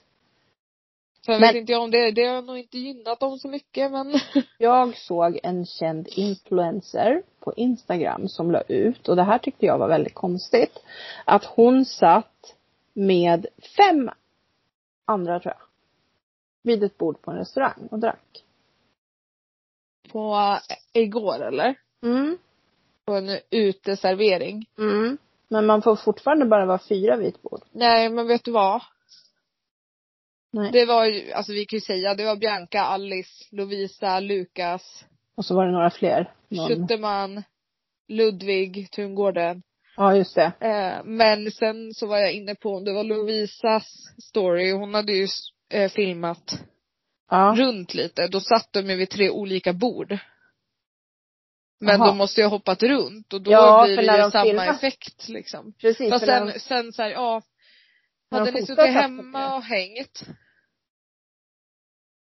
A: så jag
B: Men-
A: vet inte jag om det, det har nog inte gynnat dem så mycket men.
B: Jag såg en känd influencer på Instagram som la ut, och det här tyckte jag var väldigt konstigt, att hon satt med fem andra tror jag, vid ett bord på en restaurang och drack.
A: På eh, igår eller?
B: Mm.
A: På en uteservering.
B: Mm. Men man får fortfarande bara vara fyra vid ett bord.
A: Nej men vet du vad?
B: Nej.
A: Det var ju, alltså vi kan ju säga, det var Bianca, Alice, Lovisa, Lukas,
B: Och så var det några fler. Någon...
A: Schutterman, Ludvig, Tungården.
B: Ja, just det.
A: Eh, men sen så var jag inne på, det var Lovisas story, hon hade ju eh, filmat
B: Ja.
A: runt lite. Då satt de ju vid tre olika bord. Men
B: Jaha.
A: de måste ju ha hoppat runt och då
B: Ja,
A: blir
B: för
A: det
B: när
A: ju
B: de
A: samma
B: filmar-
A: effekt liksom.
B: Precis.
A: Fast
B: för när
A: sen,
B: de-
A: sen så här, ja.
B: när de
A: Hade ni
B: fotar
A: suttit
B: satt
A: hemma
B: de
A: och hängt?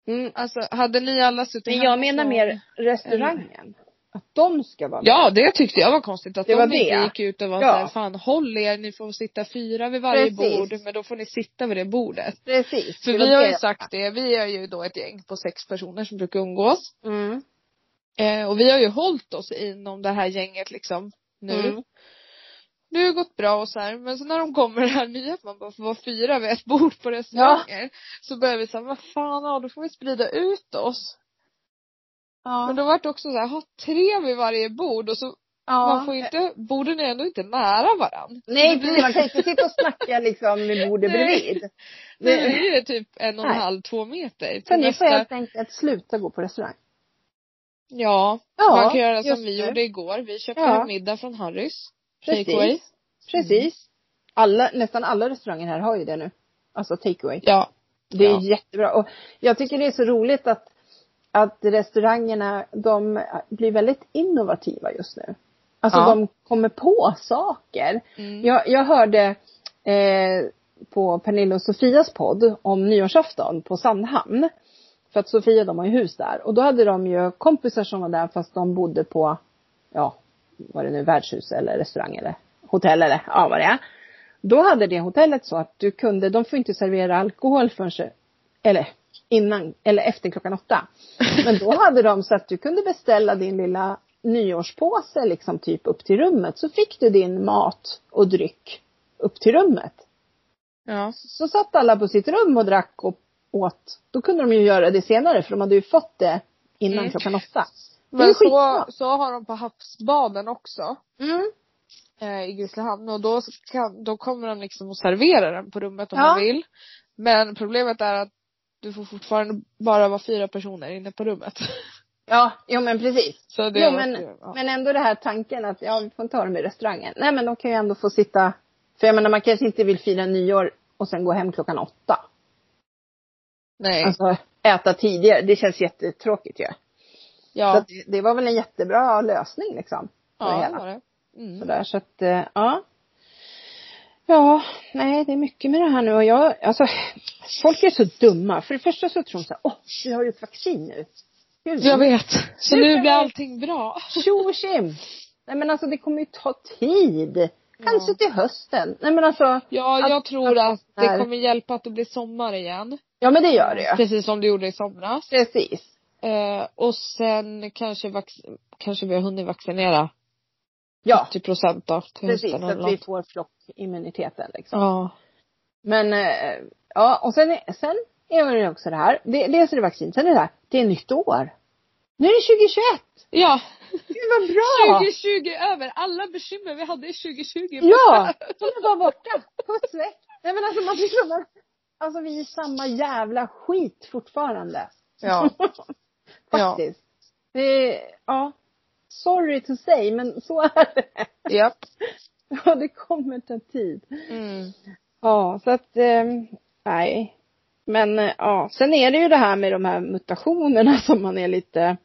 B: Mm.
A: Alltså hade ni alla suttit
B: Men
A: hemma
B: jag menar
A: så-
B: mer restaurangen. Att de ska vara med.
A: Ja, det tyckte jag var konstigt att
B: Det
A: de
B: var
A: inte
B: det.
A: gick ut och var
B: Ja.
A: så här, fan håll er, ni får sitta fyra vid varje
B: Precis.
A: bord, men då får ni sitta vid det bordet.
B: Precis.
A: För
B: det var
A: vi har ju
B: det.
A: sagt det, vi är ju då ett gäng på sex personer som brukar umgås.
B: Mm.
A: Eh, och vi har ju hållit oss inom det här gänget liksom nu.
B: Mm.
A: Nu har det gått bra och så här, men så när de kommer det här nya att man bara får vara fyra vid ett bord på restauranger. Så börjar vi säga, vad fan, ja då får vi sprida ut oss.
B: Ja.
A: Men då vart det också så här, ha tre vid varje bord och så,
B: ja.
A: man får ju inte, borden är ändå inte nära varann.
B: Nej, precis. Man kan inte sitta och snacka liksom vid bordet
A: Nej.
B: bredvid.
A: Det
B: Det...
A: är ju typ en och en
B: Nej.
A: halv, två meter.
B: Så
A: Till
B: ni
A: nästa,
B: får helt enkelt sluta gå på restaurang.
A: ja,
B: Ja,
A: man kan göra
B: just
A: som vi
B: det.
A: gjorde igår. Vi köpte
B: Ja.
A: en middag från Harrys. Takeaway.
B: Precis. Precis. Alla, nästan alla restauranger här har ju det nu. Alltså takeaway.
A: Ja.
B: Det är
A: Ja.
B: jättebra. Och jag tycker det är så roligt att, att restaurangerna, de blir väldigt innovativa just nu. Alltså
A: Ja.
B: de kommer på saker.
A: Mm.
B: Jag, jag hörde eh, på Pernilla och Sofias podd om nyårsafton på Sandhamn. För att Sofia de har ju hus där. Och då hade de ju kompisar som var där fast de bodde på, ja, var det nu värdshus eller restaurang eller hotell eller ja vad det är. Då hade det hotellet så att du kunde, de får inte servera alkohol förrän, eller innan, eller efter klockan åtta. Men då hade de så att du kunde beställa din lilla nyårspåse liksom typ upp till rummet. Så fick du din mat och dryck upp till rummet.
A: Ja.
B: Så satt alla på sitt rum och drack och åt. Då kunde de ju göra det senare för de hade ju fått det innan
A: Mm.
B: klockan åtta. Det är
A: Men
B: ju
A: så,
B: skitbra.
A: så har de på havsbaden också.
B: Mm.
A: eh, i Grisslehamn och då, kan, då kommer de liksom och servera den på rummet om
B: Ja.
A: man vill. Men problemet är att du får fortfarande bara vara fyra personer inne på rummet.
B: Ja, jo men precis.
A: Så det
B: Jo,
A: var-
B: men,
A: ja.
B: men ändå det här tanken att ja, vi får inte ha dem i restaurangen. Nej men de kan ju ändå få sitta. För jag menar man kanske inte vill fira nyår och sen gå hem klockan åtta.
A: Nej.
B: Alltså äta tidigare. Det känns jättetråkigt ju. Så
A: ja.
B: att det- det var väl en jättebra lösning liksom. på det
A: Ja, det
B: hela.
A: var det. Mm.
B: Sådär, så att, eh, ja. Ja, nej det är mycket med det här nu och jag, alltså folk är så dumma. För det första så tror de så här, åh, vi har ju ett vaccin nu. Gud,
A: Jag vet. Så
B: Nu
A: nu
B: kan
A: blir
B: jag-
A: allting bra.
B: Tjo och tjim. Nej men alltså det kommer ju ta tid. Kanske
A: Ja.
B: till hösten. Nej men alltså,
A: Ja, jag
B: Att-
A: tror att det
B: här-
A: kommer hjälpa att det blir sommar igen.
B: ja men det gör det ju.
A: Precis som det gjorde i somras.
B: Precis.
A: Eh, och sen kanske, vax- kanske vi har hunnit vaccinera
B: Ja,
A: 80 procent då till
B: precis.
A: hösten
B: Så
A: eller
B: att vi
A: något.
B: får flockimmuniteten liksom.
A: Ja.
B: Men eh, ja, och sen, är- sen är det också det här. Det, dels är det vaccin, sen är det det här. Det är nytt år. Nu är det 2021!
A: Ja.
B: Gud vad bra!
A: 2020 är över. Alla bekymmer vi hade i 2020
B: Ja! De är bara borta. Puts väck. Nej men alltså man blir så bara- Alltså vi är i samma jävla skit fortfarande.
A: Ja.
B: Faktiskt. Det är, ja. Sorry to say men så är det.
A: Japp.
B: Ja det kommer ta tid.
A: Mm.
B: Ja så att, ehm, nej. Men eh, ja, sen är det ju det här med de här mutationerna som man är lite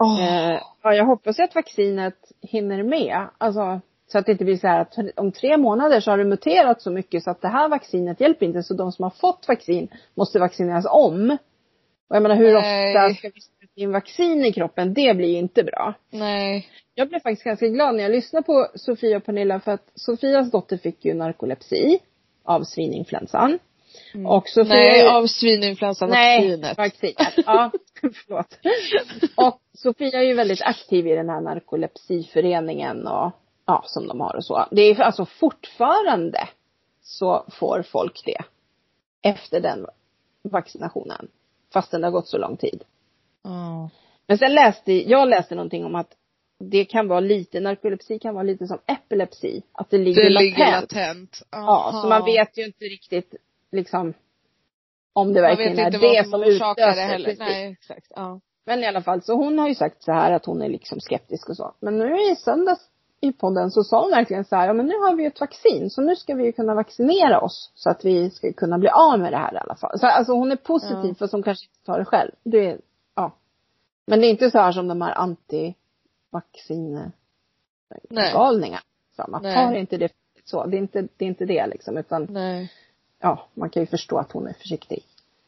A: Åh.
B: Eh, ja, jag hoppas ju att vaccinet hinner med. Alltså, så att det inte blir så här att om tre månader så har det muterat så mycket så att det här vaccinet hjälper inte. Så de som har fått vaccin måste vaccineras om. Och jag menar hur
A: Nej.
B: ofta ska vi sätta in vaccin i kroppen? Det blir ju inte bra.
A: Nej.
B: Jag blev faktiskt ganska glad när jag lyssnade på Sofia och Pernilla för att Sofias dotter fick ju narkolepsi av svininfluensan.
A: Mm.
B: Och Sofia
A: Nej, av svininfluensan,
B: Nej,
A: vaccinet.
B: vaccinet. Ja, förlåt. Och Sofia är ju väldigt aktiv i den här narkolepsiföreningen och ja, som de har och så. Det är alltså fortfarande så får folk det efter den vaccinationen. Fastän det har gått så lång tid.
A: Ja.
B: Men sen läste, jag läste någonting om att det kan vara lite, narkolepsi kan vara lite som epilepsi. Att det ligger
A: Det
B: latent.
A: ligger latent. Ah.
B: Ja, så man
A: Aha.
B: vet ju inte riktigt liksom om det
A: Man
B: verkligen
A: vet
B: är
A: inte vad
B: det
A: som
B: som
A: orsakar det
B: utlöser.
A: heller.
B: precis.
A: Nej, exakt. Ja.
B: Men i alla fall, så hon har ju sagt så här att hon är liksom skeptisk och så. Men nu i söndags i podden så sa hon verkligen så här, ja men nu har vi ju ett vaccin så nu ska vi ju kunna vaccinera oss så att vi ska kunna bli av med det här i alla fall. Så, alltså hon är positiv
A: Ja.
B: fast hon kanske inte tar det själv. Det är, ja. Men det är inte så här som de här antivaccingalningarna.
A: Nej.
B: Som att
A: Nej.
B: tar inte det så. Det är inte det, är inte det liksom utan
A: Nej.
B: ja, man kan ju förstå att hon är försiktig.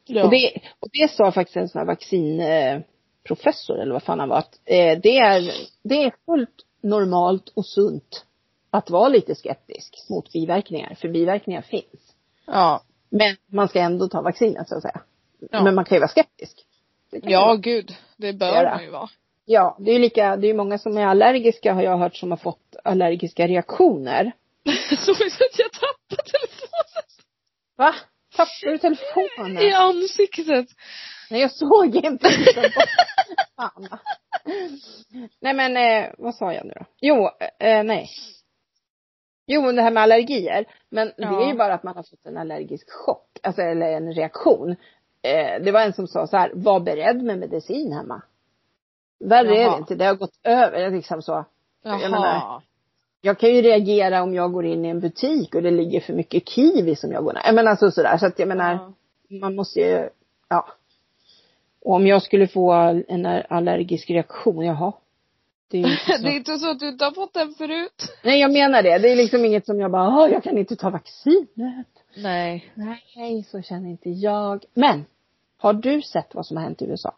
A: Ja.
B: Och, det, och det sa faktiskt en sån här vaccinprofessor eller vad fan han var att eh, det är, det är fullt normalt och sunt att vara lite skeptisk mot biverkningar, för biverkningar finns.
A: ja.
B: Men man ska ändå ta vaccinet så att säga.
A: Ja.
B: Men man kan ju vara skeptisk. Det kan man
A: ja,
B: vara.
A: gud. Det bör
B: Göra.
A: man ju vara.
B: ja. Det är ju lika, det är ju många som är allergiska har jag hört som har fått allergiska reaktioner.
A: Såg du att jag tappade telefonen
B: Va? Tappade du telefonen?
A: i ansiktet?
B: Nej jag såg inte. Fan. Nej men eh, vad sa jag nu då? Jo, eh, nej. Jo det här med allergier. Men det är
A: Ja.
B: ju bara att man har fått en allergisk chock. Alltså eller en reaktion. Eh, det var en som sa så här, var beredd med medicin hemma. Värre är
A: Jaha.
B: det inte, det har gått över. Jag Liksom så.
A: Jaha.
B: Jag menar- Jag kan ju reagera om jag går in i en butik och det ligger för mycket kiwi som jag går nära. Men alltså sådär, så att jag menar
A: Ja.
B: man måste ju, ja. Och om jag skulle få en allergisk reaktion, jaha. Det är ju inte
A: Det är
B: så.
A: inte så att du inte har fått den förut.
B: Nej jag menar det, det är liksom inget som jag bara, "Ah, jag kan inte ta vaccinet.
A: Nej.
B: Nej, så känner inte jag. Men, har du sett vad som har hänt i USA?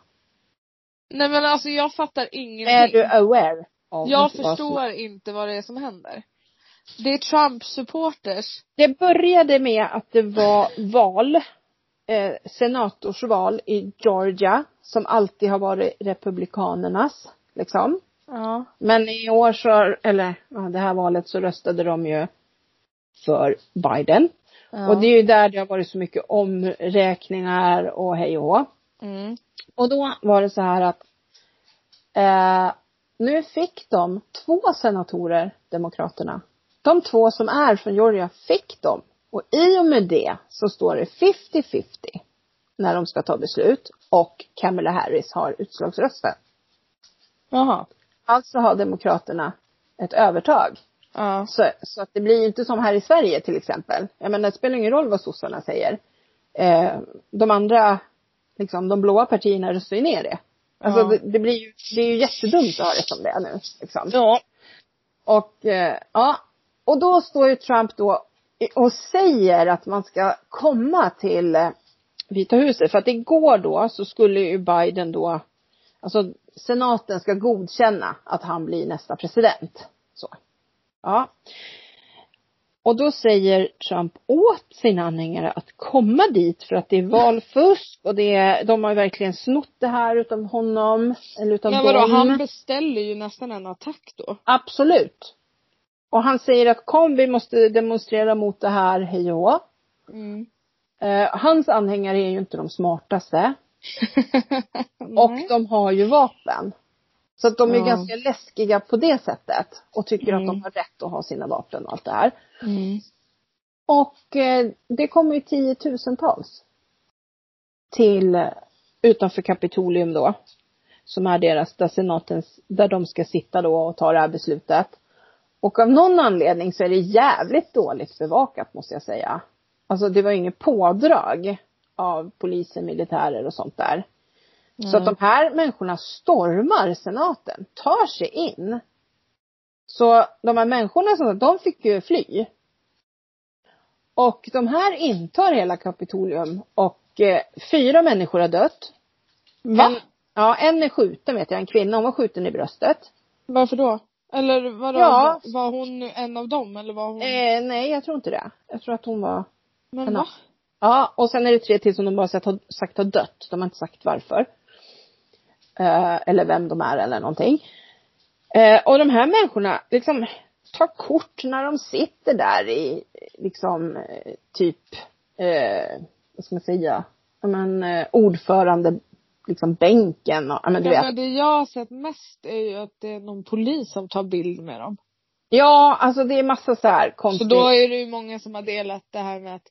A: Nej men alltså jag fattar ingenting.
B: Är du aware? Av
A: jag
B: vad som-
A: förstår inte vad det är som händer. Det är Trump-supporters.
B: Det började med att det var val, eh, senatorsval i Georgia, som alltid har varit republikanernas, liksom.
A: Ja.
B: Men i år så, eller ja, det här valet så röstade de ju för Biden.
A: ja.
B: Och det är ju där det har varit så mycket omräkningar och hej och hå.
A: Mm.
B: Och då var det så här att eh, nu fick de två senatorer, Demokraterna. De två som är från Georgia fick de. Och i och med det så står det 50-50 när de ska ta beslut och Kamala Harris har utslagsrösten.
A: Jaha.
B: Alltså har Demokraterna ett övertag.
A: Ja.
B: Så, så att det blir ju inte som här i Sverige till exempel. Jag menar det spelar ingen roll vad sossarna säger. Eh, de andra, liksom de blåa partierna röstar ju ner det. Alltså
A: Ja.
B: det, det blir ju, det är ju jättedumt att ha det som det är nu. Liksom.
A: Ja.
B: Och eh, ja, och då står ju Trump då i- och säger att man ska komma till eh, Vita huset. För att igår då så skulle ju Biden då, alltså senaten ska godkänna att han blir nästa president. Så. Ja. Och då säger Trump åt sina anhängare att komma dit för att det är valfusk och det är, de har ju verkligen snott det här utav honom. Eller utav
A: Men vadå,
B: dem.
A: han beställer ju nästan en attack då.
B: Absolut. Och han säger att kom vi måste demonstrera mot det här, hej och hå.
A: Mm.
B: eh, Hans anhängare är ju inte de smartaste.
A: Mm.
B: Och de har ju vapen. Så att de är
A: Ja.
B: ganska läskiga på det sättet. Och tycker
A: Mm.
B: att de har rätt att ha sina vapen och allt det här.
A: Mm.
B: Och eh, det kommer ju tiotusentals. Till eh, utanför Kapitolium då. Som är deras, där senatens, där de ska sitta då och ta det här beslutet. Och av någon anledning så är det jävligt dåligt bevakat måste jag säga. Alltså det var ju inget pådrag av poliser, militärer och sånt där. Så
A: Mm.
B: att de här människorna stormar senaten, tar sig in. Så de här människorna, som- de fick ju fly. Och de här intar hela Kapitolium och eh, fyra människor har dött.
A: Va?
B: En, ja, en är skjuten vet jag, en kvinna, hon var skjuten i bröstet.
A: Varför då? Eller vadå,
B: Ja.
A: var hon en av dem eller var hon?
B: Eh, nej, jag tror inte det. Jag tror att hon var
A: men
B: en
A: va?
B: Ja, och sen är det tre till som de bara sagt, har- sagt har dött. De har inte sagt varför. Eh, eller vem de är eller någonting. Eh, och de här människorna liksom tar kort när de sitter där i liksom eh, typ, eh, vad ska man säga, ja men eh, ordförande, liksom bänken och, ja men du
A: Ja,
B: vet.
A: men det jag har sett mest är ju att det är någon polis som tar bild med dem.
B: Ja, alltså det är massa så här
A: Så
B: konstigt.
A: då är det ju många som har delat det här med att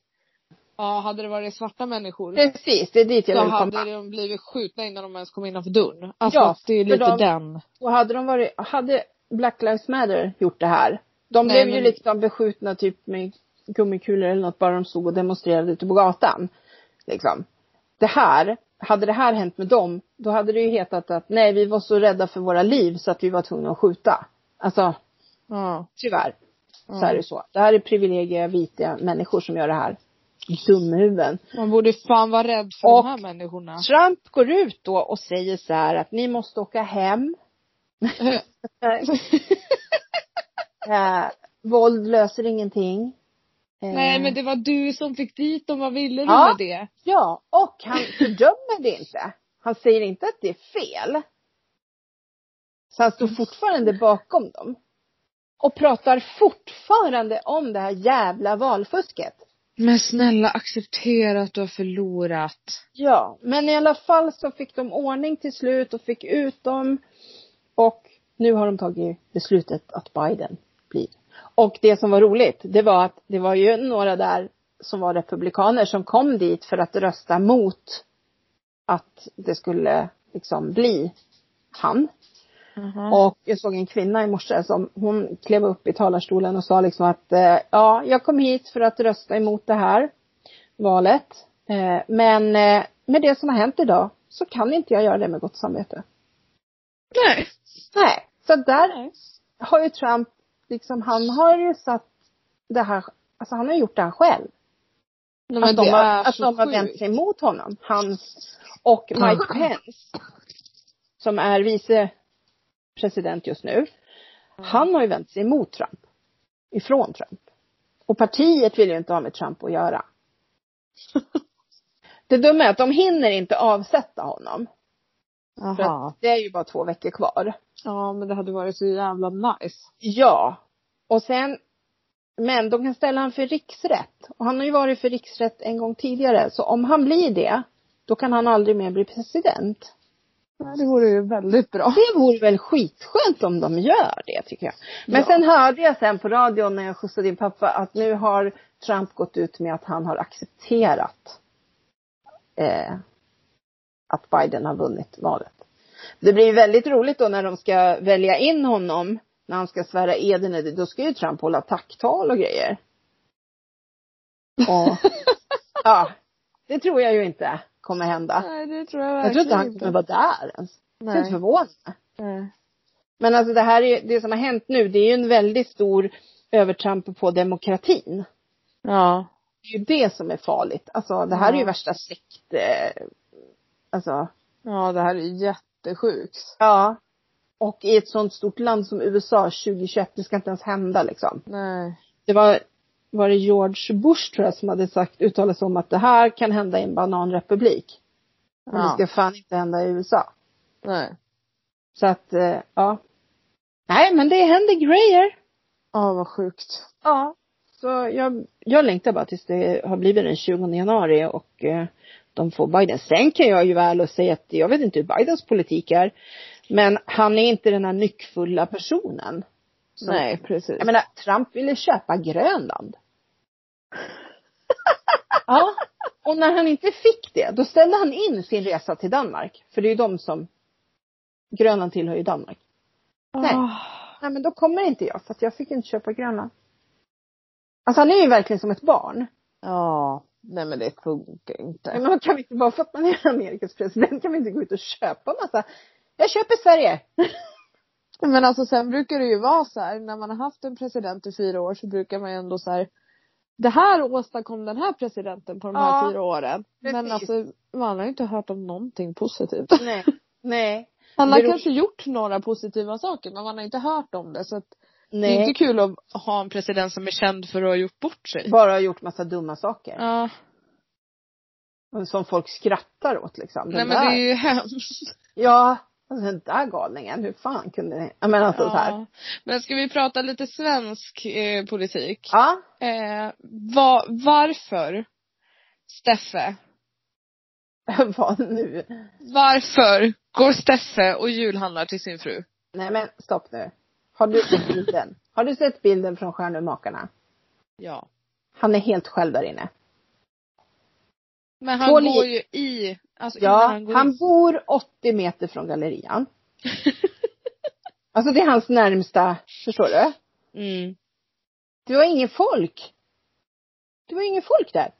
A: ja, hade det varit svarta människor
B: Precis, det är dit jag
A: så
B: vill komma.
A: hade de blivit skjutna innan de ens kom innanför dörren. Alltså
B: Ja,
A: att det är
B: för
A: lite
B: de-
A: den.
B: Och hade de varit, hade Black Lives Matter gjort det här, de
A: Nej,
B: blev ju
A: men-
B: liksom beskjutna typ med gummikulor eller något bara de stod och demonstrerade ute på gatan. Liksom. Det här, hade det här hänt med dem, då hade det ju hetat att nej vi var så rädda för våra liv så att vi var tvungna att skjuta. Alltså
A: Ja.
B: tyvärr så
A: Ja.
B: är det så. Det här är privilegier vita människor som gör det här. Dumhuvuden.
A: Man borde fan vara rädd för
B: Och- Eh.
A: de här människorna.
B: Trump går ut då och säger så här att ni måste åka hem. eh, våld löser ingenting. Eh,
A: Nej men det var du som fick dit dem, vad ville du
B: Ja.
A: med det?
B: Ja, och han fördömer det inte. Han säger inte att det är fel. Så han står fortfarande bakom dem. Och pratar fortfarande om det här jävla valfusket.
A: Men snälla acceptera att du har förlorat.
B: Ja, men i alla fall så fick de ordning till slut och fick ut dem. Och nu har de tagit beslutet att Biden blir. Och det som var roligt, det var att det var ju några där som var republikaner som kom dit för att rösta mot att det skulle liksom bli han.
A: Mm.
B: Och jag såg en kvinna i morse som hon klev upp i talarstolen och sa liksom att eh, ja, jag kom hit för att rösta emot det här valet. Eh, men eh, med det som har hänt idag så kan inte jag göra det med gott samvete.
A: Nej.
B: Nej, så där
A: Nej.
B: har ju Trump, liksom han har ju satt det här, alltså han har gjort det här själv.
A: Nej,
B: att
A: men
B: de,
A: det
B: har,
A: är
B: att
A: så
B: de har
A: sjukt.
B: vänt sig emot honom. Han och
A: Ja.
B: Mike Pence, som är vice president just nu, han har ju vänt sig emot Trump. Ifrån Trump. Och partiet vill ju inte ha med Trump att göra. Det dumma är att de hinner inte avsätta honom. För
A: Jaha.
B: att det är ju bara två veckor kvar.
A: Ja men det hade varit så jävla nice.
B: Ja. Och sen, men de kan ställa han för riksrätt. Och han har ju varit för riksrätt en gång tidigare. Så om han blir det, då kan han aldrig mer bli president.
A: Nej, det vore ju väldigt bra.
B: Det vore väl skitskönt om de gör det tycker jag. Men
A: Ja.
B: sen hörde jag sen på radion när jag skjutsade din pappa att nu har Trump gått ut med att han har accepterat eh, att Biden har vunnit valet. Det blir ju väldigt roligt då när de ska välja in honom, när han ska svära eden, då ska ju Trump hålla tacktal och grejer. Och, ja, det tror jag ju inte kommer hända.
A: Nej det tror jag verkligen
B: Jag tror inte han kommer vara där ens. Jag är inte
A: Nej.
B: förvånad.
A: Nej.
B: Men alltså det här är, det som har hänt nu, det är ju en väldigt stor övertramp på demokratin.
A: Ja.
B: Det är ju det som är farligt. Alltså det här är ju
A: Ja.
B: värsta sekt, eh, alltså,
A: Ja det här är jättesjukt.
B: ja. Och i ett sånt stort land som USA 2021, det ska inte ens hända liksom.
A: Nej.
B: Det var var det George Bush tror jag som hade sagt, uttalat sig om att det här kan hända i en bananrepublik. Men
A: Ja.
B: det ska fan inte hända i USA.
A: Nej.
B: Så att, eh, ja. Nej men det händer grejer.
A: Ja, vad sjukt.
B: Ja. Så jag, jag längtar bara tills det har blivit den 20 januari och eh, de får Biden. Sen kan jag ju väl och säga att jag vet inte hur Bidens politik är. Men han är inte den här nyckfulla personen. Som,
A: Nej, precis.
B: Jag menar, Trump ville köpa Grönland. ja. Och när han inte fick det, då ställde han in sin resa till Danmark. För det är ju de som, Grönland tillhör ju Danmark. nej.
A: Ah.
B: Nej men då kommer inte jag för att jag fick inte köpa Grönland. Alltså han är ju verkligen som ett barn.
A: Ja. Nej men det funkar inte.
B: Nej, men man kan vi inte bara för att man är Amerikas president kan vi inte gå ut och köpa massa. Jag köper Sverige.
A: Men alltså sen brukar det ju vara så här när man har haft en president i fyra år så brukar man ju ändå så här det här åstadkom den här presidenten på de här
B: Ja,
A: fyra åren. Men
B: precis.
A: alltså man har ju inte hört om någonting positivt.
B: Nej. Nej.
A: Han har
B: Beror-
A: kanske gjort några positiva saker men man har inte hört om det så att det är
B: Nej.
A: inte kul att ha en president som är känd för att ha gjort bort sig.
B: Bara har gjort massa dumma saker.
A: Ja.
B: Som folk skrattar åt liksom.
A: Nej
B: Den
A: men
B: där.
A: det är ju hemskt.
B: Ja. Alltså den där galningen, hur fan kunde ni? Jag menar alltså så här.
A: Ja. Men ska vi prata lite svensk eh, politik?
B: Ja.
A: Eh, va, varför Steffe
B: Vad nu?
A: Varför går Steffe och julhandlar till sin fru?
B: Nej men stopp nu. Har du sett bilden? Har du sett bilden från Stjärnumakarna?
A: Ja.
B: Han är helt själv där inne.
A: Men han
B: Två
A: går
B: li-
A: ju i, alltså
B: Ja,
A: innan han går
B: han
A: in.
B: bor 80 meter från gallerian. alltså det är hans närmsta, förstår du?
A: Mm.
B: Det var ingen folk. Det var ingen folk där.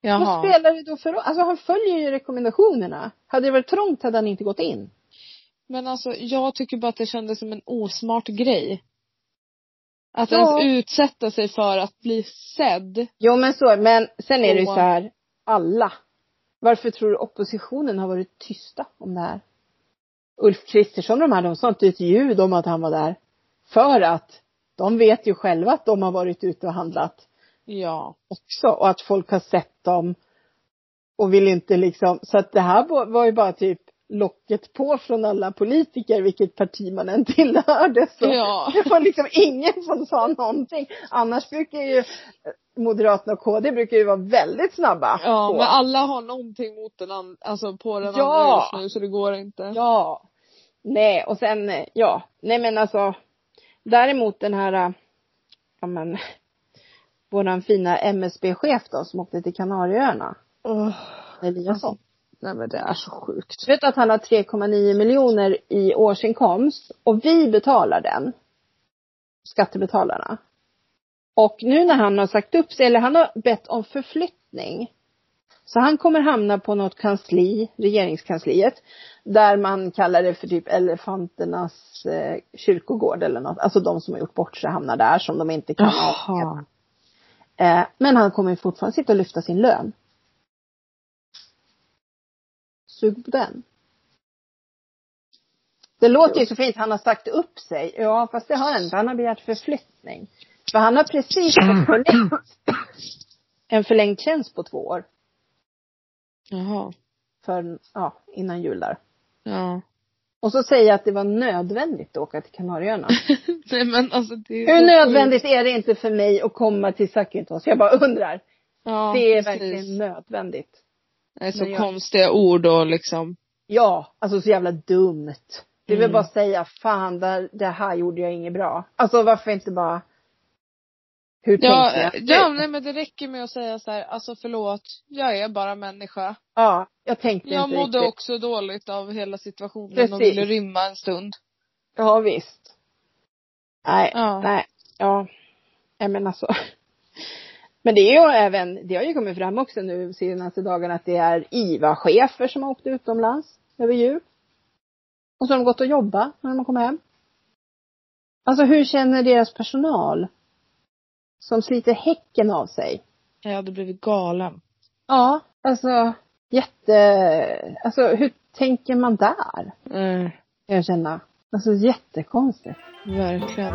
B: Vad
A: Jaha.
B: spelar det då för roll? Alltså han följer ju rekommendationerna. Hade det varit trångt hade han inte gått in.
A: Men alltså jag tycker bara att det kändes som en osmart grej. Att
B: Ja.
A: ens utsätta sig för att bli sedd.
B: Jo men så, men sen är det ju
A: Åh.
B: så här, alla. Varför tror du oppositionen har varit tysta om det här? Ulf Kristersson och de här, de sa inte ett ljud om att han var där. För att de vet ju själva att de har varit ute och handlat.
A: Ja.
B: också och att folk har sett dem och vill inte liksom, så att det här var- var ju bara typ locket på från alla politiker vilket parti man än tillhörde så
A: Ja.
B: det var liksom ingen som sa någonting annars brukar ju eh, Moderaterna och KD brukar ju vara väldigt snabba
A: Ja,
B: på.
A: men alla har någonting mot den andra, alltså på den
B: Ja.
A: andra just nu så det går inte.
B: ja nej och sen eh, ja nej men alltså däremot den här eh, ja men våran fina MSB-chef då som åkte till Kanarieöarna
A: Åh,
B: Eliasson
A: nej men det är så sjukt.
B: Du vet att han har 3,9 miljoner i årsinkomst och vi betalar den. Skattebetalarna. Och nu när han har sagt upp sig, eller han har bett om förflyttning. Så han kommer hamna på något kansli, regeringskansliet. Där man kallar det för typ elefanternas eh, kyrkogård eller något. Alltså de som har gjort bort sig hamnar där som de inte kan avskeda.
A: Jaha.
B: Eh, men han kommer fortfarande sitta och lyfta sin lön. Sug på den. Det låter ju så fint, han har sagt upp sig. Ja, fast det har han inte. Han har begärt förflyttning. För han har precis fått förlängt, en förlängd tjänst på två år.
A: Jaha.
B: För, ja, innan jul där.
A: Ja.
B: Och så säger jag att det var nödvändigt att åka till Kanarieöarna.
A: nej men alltså det är så
B: Hur
A: sjukt.
B: nödvändigt är det inte för mig att komma till Sakintos? Jag bara undrar.
A: Ja,
B: Det är
A: precis.
B: verkligen nödvändigt.
A: Nej, så
B: Men jag-
A: konstiga ord och liksom.
B: Ja, alltså så jävla dumt. Det vill
A: Mm.
B: bara säga, fan där, det här gjorde jag inget bra. Alltså varför inte bara, hur tänkte
A: Ja,
B: jag?
A: ja nej, men det räcker med att säga så här, alltså förlåt, jag är bara människa.
B: ja, jag tänkte
A: Jag
B: inte
A: mådde
B: riktigt.
A: också dåligt av hela situationen och
B: Precis.
A: ville rymma en stund.
B: Ja, visst. Nej,
A: Ja.
B: nej, ja. Nej men alltså. Men det är ju även, det har ju kommit fram också nu senaste dagarna att det är IVA-chefer som har åkt utomlands över jul. Och så har de gått och jobbat när de kommer hem. Alltså hur känner deras personal? Som sliter häcken av sig.
A: Jag hade blivit galen.
B: Ja, alltså jätte, alltså hur tänker man där?
A: Nej,
B: Kan jag känna. Alltså jättekonstigt.
A: verkligen.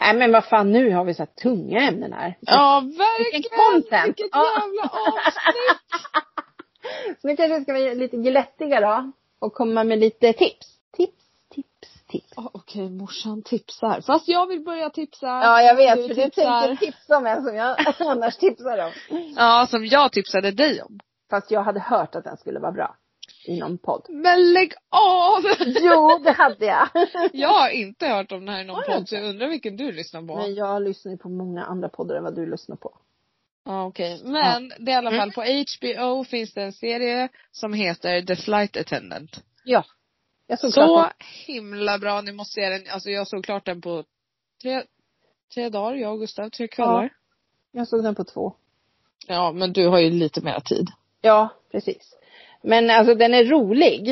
B: Nej men vad fan nu har vi så här tunga ämnen här.
A: Ja,
B: Vilken
A: verkligen!
B: content!
A: Vilket
B: Ja.
A: jävla avsnitt!
B: Så nu kanske ska vi lite glättiga då. Och komma med lite tips. Tips, tips, tips.
A: Ja, Okej, morsan tipsar. Fast jag vill börja tipsa.
B: Ja jag vet
A: Du
B: för du
A: tipsar.
B: tänker tipsa om en som jag annars tipsar om.
A: Ja, som jag tipsade dig om.
B: Fast jag hade hört att den skulle vara bra. I någon podd.
A: Men lägg av!
B: Jo det hade jag.
A: Jag har inte hört om den här i någon
B: Har du
A: podd
B: inte?
A: så jag undrar vilken du lyssnar på.
B: Men jag lyssnar ju på många andra poddar än vad du lyssnar på.
A: Ja okej. Men det är i alla
B: Mm.
A: fall på HBO finns det en serie som heter The Flight Attendant.
B: Ja. Jag såg klart
A: Så
B: den.
A: himla bra, ni måste se den. Alltså jag såg klart den på tre, tre dagar, jag och Gustav, tre kvällar.
B: jag såg den på två.
A: Ja. men du har ju lite mer tid.
B: Ja, precis. Men alltså den är rolig.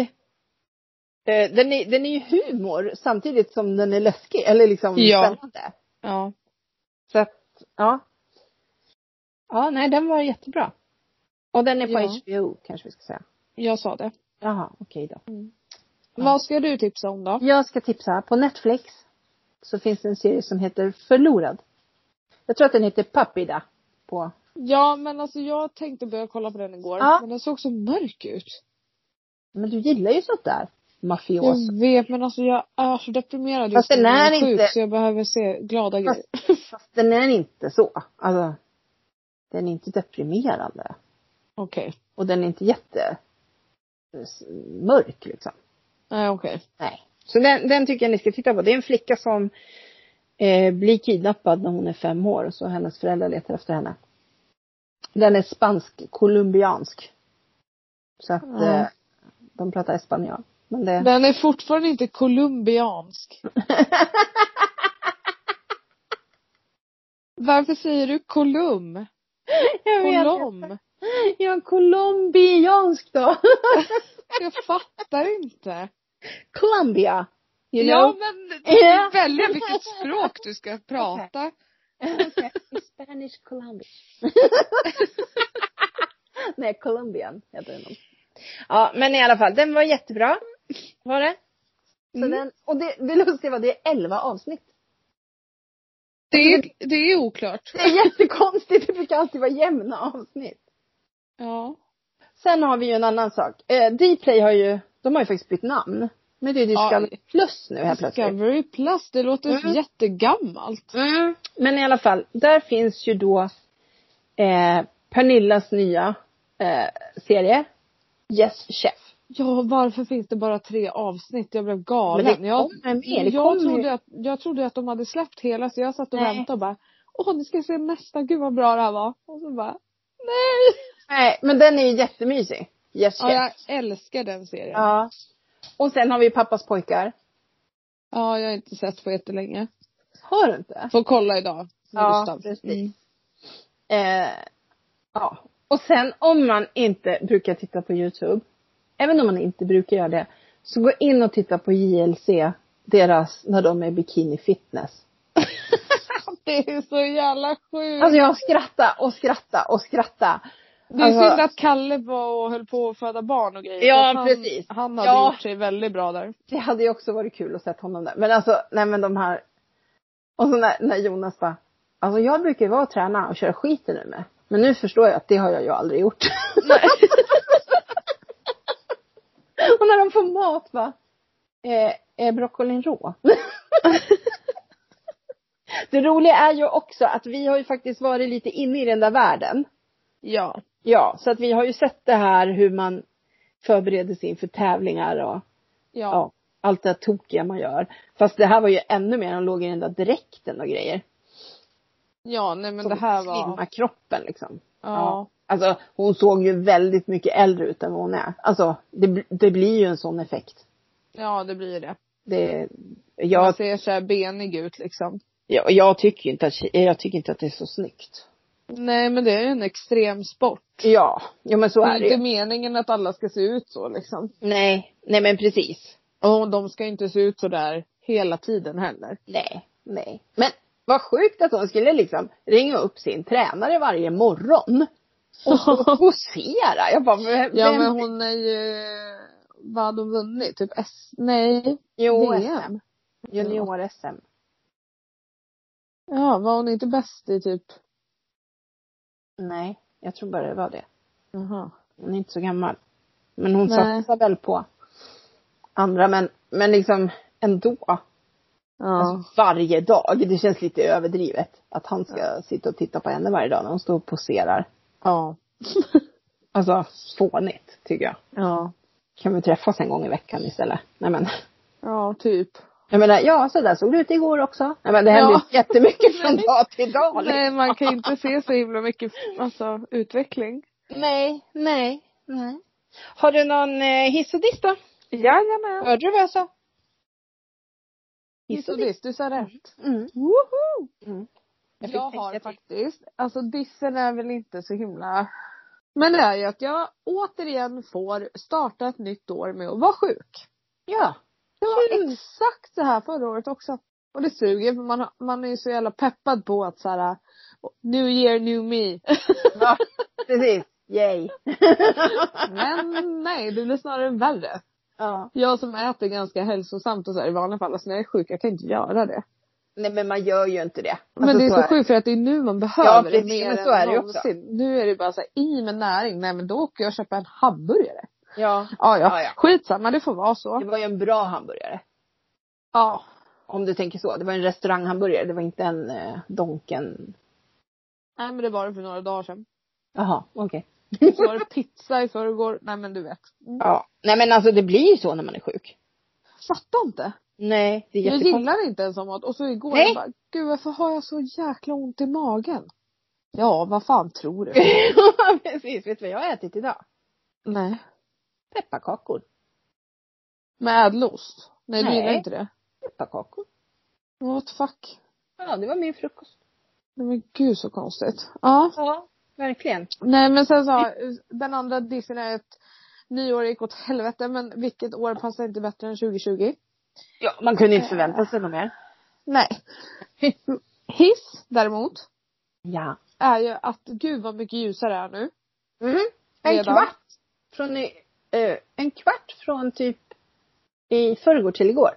B: Eh, Den är, den är ju humor samtidigt som den är läskig eller liksom
A: Ja.
B: spännande.
A: Ja.
B: Så att, ja. Ja, nej den var jättebra. Och den är på HBO kanske vi ska säga.
A: Jag sa det.
B: Jaha, okej då. Ja.
A: Vad ska du tipsa om då?
B: Jag ska tipsa. På Netflix så finns det en serie som heter Förlorad. Jag tror att den heter Papida på.
A: Ja men alltså jag tänkte börja kolla på den igår.
B: Ja.
A: Men den såg så mörk ut.
B: Men du gillar ju sånt där. Mafios.
A: Jag vet men alltså jag är så deprimerad
B: Fast den
A: nu. Jag
B: är inte-
A: så jag behöver se glada
B: Fast-
A: grejer.
B: Fast den är inte så. Alltså, den är inte deprimerande.
A: Okej.
B: Och den är inte jätte mörk liksom.
A: Nej okej.
B: Nej. Så den, den tycker jag ni ska titta på. Det är en flicka som eh, blir kidnappad när hon är fem år. Så hennes föräldrar letar efter henne. Den är spansk-colombiansk. Så att
A: Ja.
B: eh, de pratar espanjol. Men det...
A: Den är fortfarande inte colombiansk. Varför säger du kolum?
B: jag
A: Kolom?
B: Ja, colombiansk då.
A: Jag fattar inte.
B: Colombia. You know?
A: Ja men du
B: Ja.
A: yeah. välja vilket språk du ska prata.
B: Spanish Colombia. Nej, Colombian heter den. nog. Ja, men i alla fall, den var jättebra. Var det? Så
A: Mm.
B: den, och det, det lustiga var det är elva avsnitt.
A: Det är, det är oklart.
B: Det är jättekonstigt, det brukar alltid vara jämna avsnitt.
A: Ja.
B: Sen har vi ju en annan sak. Eh, Dplay har ju, de har ju faktiskt bytt namn. Men det är ju
A: Ja.
B: Discovery Plus nu helt plötsligt.
A: Discovery Plus, det låter
B: Mm.
A: jättegammalt.
B: Mm. Men i alla fall, där finns ju då eh, Pernillas nya eh, serie Yes Chef.
A: Ja, varför finns det bara tre avsnitt? Jag blev galen.
B: Men det
A: jag,
B: kommer mer, det
A: jag,
B: kommer ju.
A: trodde att, jag trodde att de hade släppt hela så jag satt och
B: Nej.
A: väntade och bara Åh, nu ska jag se nästa, gud vad bra det här var. Och så bara Nej!
B: Nej, men den är ju jättemysig. Yes Chef.
A: Ja, jag älskar den serien. Ja,
B: Ja. Och sen har vi Pappas pojkar.
A: jag har inte sett på jättelänge.
B: Har du inte?
A: Får kolla idag. med
B: Ja,
A: Gustav.
B: precis. Eh, ja. Och sen om man inte brukar titta på Youtube, även om man inte brukar göra det, så gå in och titta på JLC, deras, när de är bikini fitness.
A: Det är så jävla sjukt.
B: Alltså jag skrattar och skrattar och skrattar.
A: det är
B: alltså-
A: synd att Kalle var och höll på att föda barn och grejer.
B: Ja,
A: för att han,
B: precis.
A: Han hade
B: Ja.
A: gjort sig väldigt bra där.
B: Det hade ju också varit kul att sett honom där. Men alltså, nej men de här. Och så när, när Jonas bara, alltså jag brukar ju vara och träna och köra skiten nu med. Men nu förstår jag att det har jag ju aldrig gjort. och när de får mat bara, eh, är broccolin rå? det roliga är ju också att vi har ju faktiskt varit lite inne i den där världen.
A: Ja.
B: Ja, så att vi har ju sett det här hur man förbereder sig inför tävlingar och
A: Ja.
B: ja, allt det här tokiga man gör. Fast det här var ju ännu mer, de låg i den där dräkten och grejer.
A: Ja, nej men
B: Som
A: det här var...
B: Slimma kroppen liksom.
A: Ja.
B: Alltså hon såg ju väldigt mycket äldre ut än vad hon är. Alltså det, bl- det blir ju en sån effekt.
A: ja, det blir det.
B: Det,
A: Man
B: jag,
A: ser så här benig ut liksom.
B: jag, jag tycker ju inte att, jag tycker inte att det är så snyggt.
A: Nej men det är ju en extrem sport.
B: Ja, ja men så
A: Det
B: är
A: är
B: det
A: inte
B: ju.
A: meningen att alla ska se ut så liksom.
B: Nej, nej men precis.
A: Och de ska inte se ut så där hela tiden heller.
B: Nej, nej. Men vad sjukt att hon skulle liksom ringa upp sin tränare varje morgon Och stå och posera. Jag bara, vem,
A: Ja men
B: vem-
A: hon är ju, vad hade hon vunnit? Typ S, nej,
B: Jo, SM.
A: VM?
B: Junior-SM.
A: Ja, var hon inte bäst i typ,
B: Nej, jag tror bara det var det.
A: jaha.
B: Hon är inte så gammal. Men hon
A: Nej.
B: satsar väl på andra. Men, men liksom ändå.
A: Ja.
B: Alltså, varje dag. Det känns lite överdrivet. Att han ska sitta och titta på henne varje dag när hon står och poserar.
A: Ja.
B: Alltså fånigt tycker jag.
A: Ja.
B: Kan vi träffas en gång i veckan istället? Nej men.
A: Ja, typ.
B: Jag menar, ja så där såg det ut igår också. Nej men det händer
A: Ja.
B: ju jättemycket från
A: Nej.
B: dag till dag. liksom.
A: Nej, man kan ju inte se så himla mycket, alltså utveckling.
B: nej, nej, nej. Har du någon eh, hiss och diss då?
A: Jajamän.
B: Hörde du vad jag sa?
A: Hiss och diss, du sa rätt.
B: Mm.
A: Woho!
B: Jag
A: Jag,
B: fick tänka
A: har
B: till.
A: faktiskt, alltså dissen är väl inte så himla men det är ju att jag återigen får starta ett nytt år med att vara sjuk.
B: Ja.
A: Det var
B: Kul.
A: exakt så här förra året också. Och det suger för man, har- man är ju så jävla peppad på att så här New year, new me.
B: ja. Precis. Yay.
A: Men nej, det blir snarare värre.
B: ja.
A: Jag som äter ganska hälsosamt och så här i vanliga fall, alltså när jag är sjuk, jag kan inte göra det.
B: Nej men man gör ju inte det.
A: Men
B: Alltså,
A: det är så,
B: är
A: sjukt för att det är nu man behöver det
B: precis,
A: mer
B: men så
A: än
B: är det ju också.
A: någonsin. Nu är det bara så här, i med näring, nej men då åker jag och köper en hamburgare.
B: Ja.
A: Ja,
B: Ja,
A: ja.
B: ja.
A: Skitsamma, det får vara
B: Det
A: så.
B: var ju en bra hamburgare.
A: Ja.
B: Om du tänker så. Det var en restauranghamburgare. Det var inte en eh, Donken.
A: Nej men det var det för några dagar sedan.
B: Jaha, okej.
A: Så var det pizza i förrgår. Nej men du vet. Mm.
B: Ja. Nej men alltså det blir ju så när man är sjuk.
A: Fattar inte.
B: Nej, det är
A: Jag
B: jättekonstigt.
A: gillar inte ens mat. Och så igår,
B: Nej.
A: jag bara, gud varför har jag så jäkla ont i magen? Ja, vad fan tror du?
B: Precis, vet du vad jag har ätit idag?
A: Nej.
B: Pepparkakor.
A: Med ädelost? Nej, du
B: Nej.
A: gillar inte det?
B: Pepparkakor.
A: What fuck?
B: Ja, det var min frukost.
A: Nej men gud så konstigt. Ja.
B: Ja, verkligen.
A: Nej men sen så, den andra dissen är att nyår gick åt helvete men vilket år passar inte bättre än 2020?
B: Ja, man kunde inte förvänta sig något mer.
A: Nej. Hiss däremot
B: Ja.
A: är ju att gud vad mycket ljusare det är nu.
B: Mm. En
A: Redan.
B: kvart från i, eh, en kvart från typ i förrgår till igår.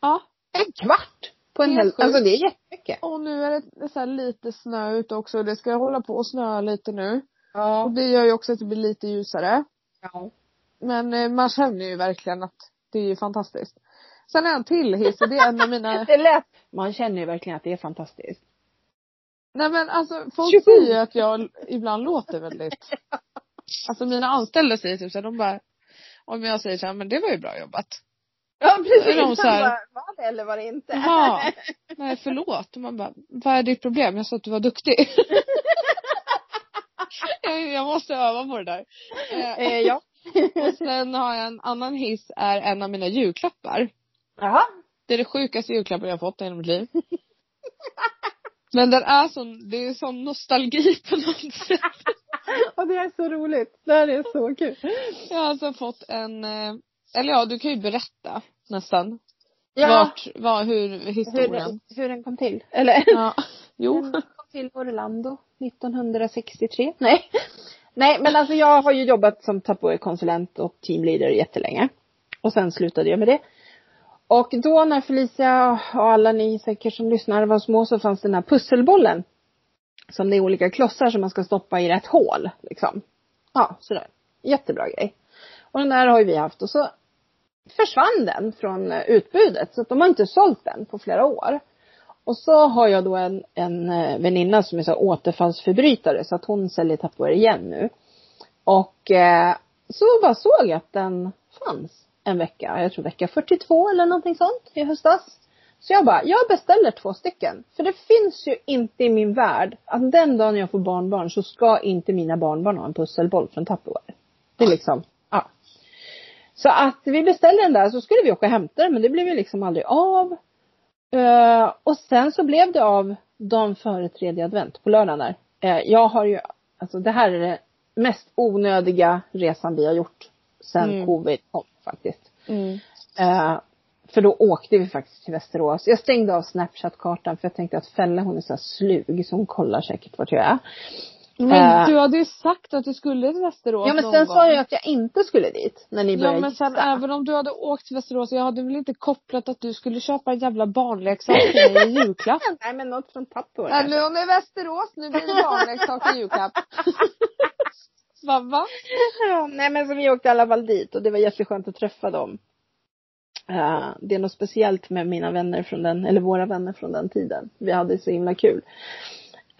A: Ja.
B: En kvart på en
A: Helt
B: hel,
A: sjukt.
B: alltså det är jättemycket.
A: Och nu är det så här lite snö ute också och det ska hålla på att snöa lite nu. Och
B: Ja.
A: det gör ju också att det blir lite ljusare.
B: ja.
A: Men eh, man känner ju verkligen att det är ju fantastiskt. Sen är en till hiss och det är en av mina
B: Det lät. Man känner ju verkligen att det är fantastiskt.
A: Nej men alltså folk
B: Tjoho!
A: säger ju att jag ibland låter väldigt Alltså mina anställda säger typ såhär, de bara Om jag säger såhär, men det var ju bra jobbat.
B: Ja precis.
A: Är de så här-
B: Var, var det eller var det inte?
A: Jaha. Nej förlåt. Och man bara, vad är ditt problem? Jag sa att du var duktig. jag, jag måste öva på det där. Eh,
B: Eh, ja.
A: och sen har jag en annan hiss, är en av mina julklappar.
B: Jaha.
A: Det är det sjukaste julklappen jag har fått i hela mitt liv. Men den är sån, det är sån nostalgi på något sätt.
B: Och det är så roligt. Det här är så kul.
A: Jag har alltså fått en, eh, eller ja du kan ju berätta nästan.
B: Ja.
A: Vart, var, hur,
B: hur,
A: historien.
B: den- hur den kom till. Eller?
A: Ja. Jo.
B: Den kom till Orlando 1963. Nej. Nej, men alltså jag har ju jobbat som Tupperware-konsulent och teamleader jättelänge. Och sen slutade jag med det. Och då när Felicia och alla ni säkert som lyssnar var små så fanns den här pusselbollen. Som det är olika klossar som man ska stoppa i rätt hål. Liksom. Ja, sådär. Jättebra grej. Och den där har ju vi haft och så försvann den från eh, utbudet. Så att de har inte sålt den på flera år. Och så har jag då en, en eh, väninna som är så här återfallsförbrytare så att hon säljer Tupperware igen nu. Och eh, så bara såg jag att den fanns en vecka, jag tror vecka 42 eller någonting sånt i höstas. Så jag bara, jag beställer två stycken. För det finns ju inte i min värld att den dagen jag får barnbarn så ska inte mina barnbarn ha en pusselboll från Tupperware. Det är liksom, ja. Så att vi beställde den där så skulle vi åka och hämta den men det blev ju liksom aldrig av. Eh, och sen så blev det av dagen före tredje advent på lördagen där. Eh, jag har ju, alltså det här är det mest onödiga resan vi har gjort sen
A: Mm.
B: covid kom faktiskt.
A: Mm.
B: Eh, för då åkte vi faktiskt till Västerås. Jag stängde av Snapchat-kartan för jag tänkte att Fälla hon är så här slug så hon kollar säkert vart jag är.
A: Men
B: Eh.
A: du hade ju sagt att du skulle till Västerås
B: Ja men
A: någon
B: sen
A: gång.
B: sa jag ju att jag inte skulle dit när ni började
A: Ja men sen även om du hade åkt till Västerås, jag hade väl inte kopplat att du skulle köpa en jävla barnleksak till mig i julklapp.
B: Nej men något från Tappo var det.
A: Nej, nu om det är Västerås, nu blir det barnleksak i julklapp. Va, va?
B: Ja, Nej men så vi åkte i alla fall dit och det var jätteskönt att träffa dem. Eh, det är något speciellt med mina vänner från den, eller våra vänner från den tiden. Vi hade så himla kul.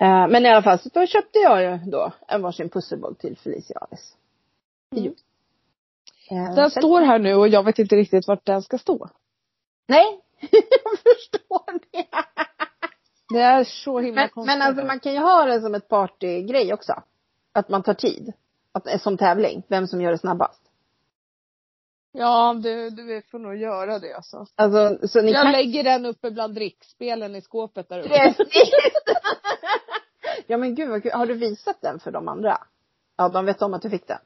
B: Eh, men i alla fall så då köpte jag ju då en varsin pusselboll till Felicia och Alice.
A: Mm.
B: Eh,
A: Den
B: så-
A: står här nu och jag vet inte riktigt vart den ska stå.
B: Nej, jag förstår det.
A: Det är så himla
B: Men,
A: konstigt.
B: men alltså man kan ju ha det som ett partygrej också. Att man tar tid. Att, som tävling, vem som gör det snabbast.
A: Ja, du, du får nog göra det alltså.
B: Alltså, så ni
A: Jag
B: kan
A: lägger den uppe bland drickspelen i skåpet där uppe.
B: Precis. ja men gud vad kul. Har du visat den för de andra? Ja, de vet om att du fick den.